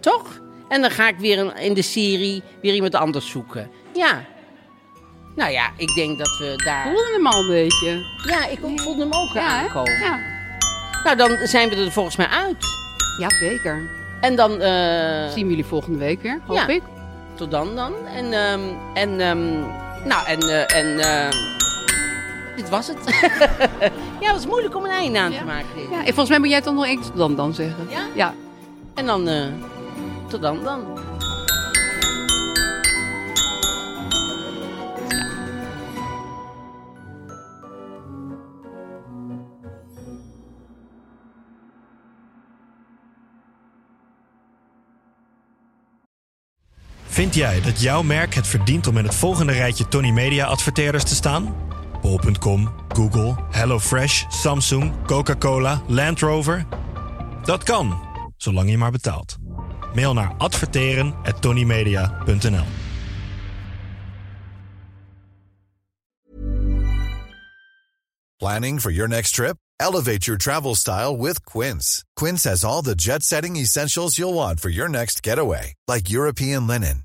S2: Toch? En dan ga ik weer een- in de serie weer iemand anders zoeken. Ja. Nou ja, ik denk dat we
S3: Ik
S2: daar...
S3: voelde hem al een beetje.
S2: Ja, ik ook- voelde hem ook
S3: Ja, hè?
S2: aankomen.
S3: ja.
S2: Nou, dan zijn we er volgens mij uit.
S3: ja, zeker.
S2: En dan... eh,
S3: Zien we jullie volgende week weer, hoop
S2: Ja.
S3: ik.
S2: Tot dan dan. En, ehm, en ehm, nou, en, eh, en ehm, dit was het. ja, het was moeilijk om een einde aan te maken. dit.
S3: Ja, en volgens mij moet jij het dan nog eens dan dan zeggen.
S2: Ja?
S3: Ja.
S2: En dan, eh, tot dan dan.
S5: Vind jij dat jouw merk het verdient om in het volgende rijtje Tony Media adverteerders te staan? bol.com, Google, HelloFresh, Samsung, Coca-Cola, Land Rover. Dat kan, zolang je maar betaalt. Mail naar adverteren@tonymedia.nl.
S6: Planning for your next trip? Elevate your travel style with Quince. Quince has all the jet setting essentials you'll want for your next getaway, like European linen,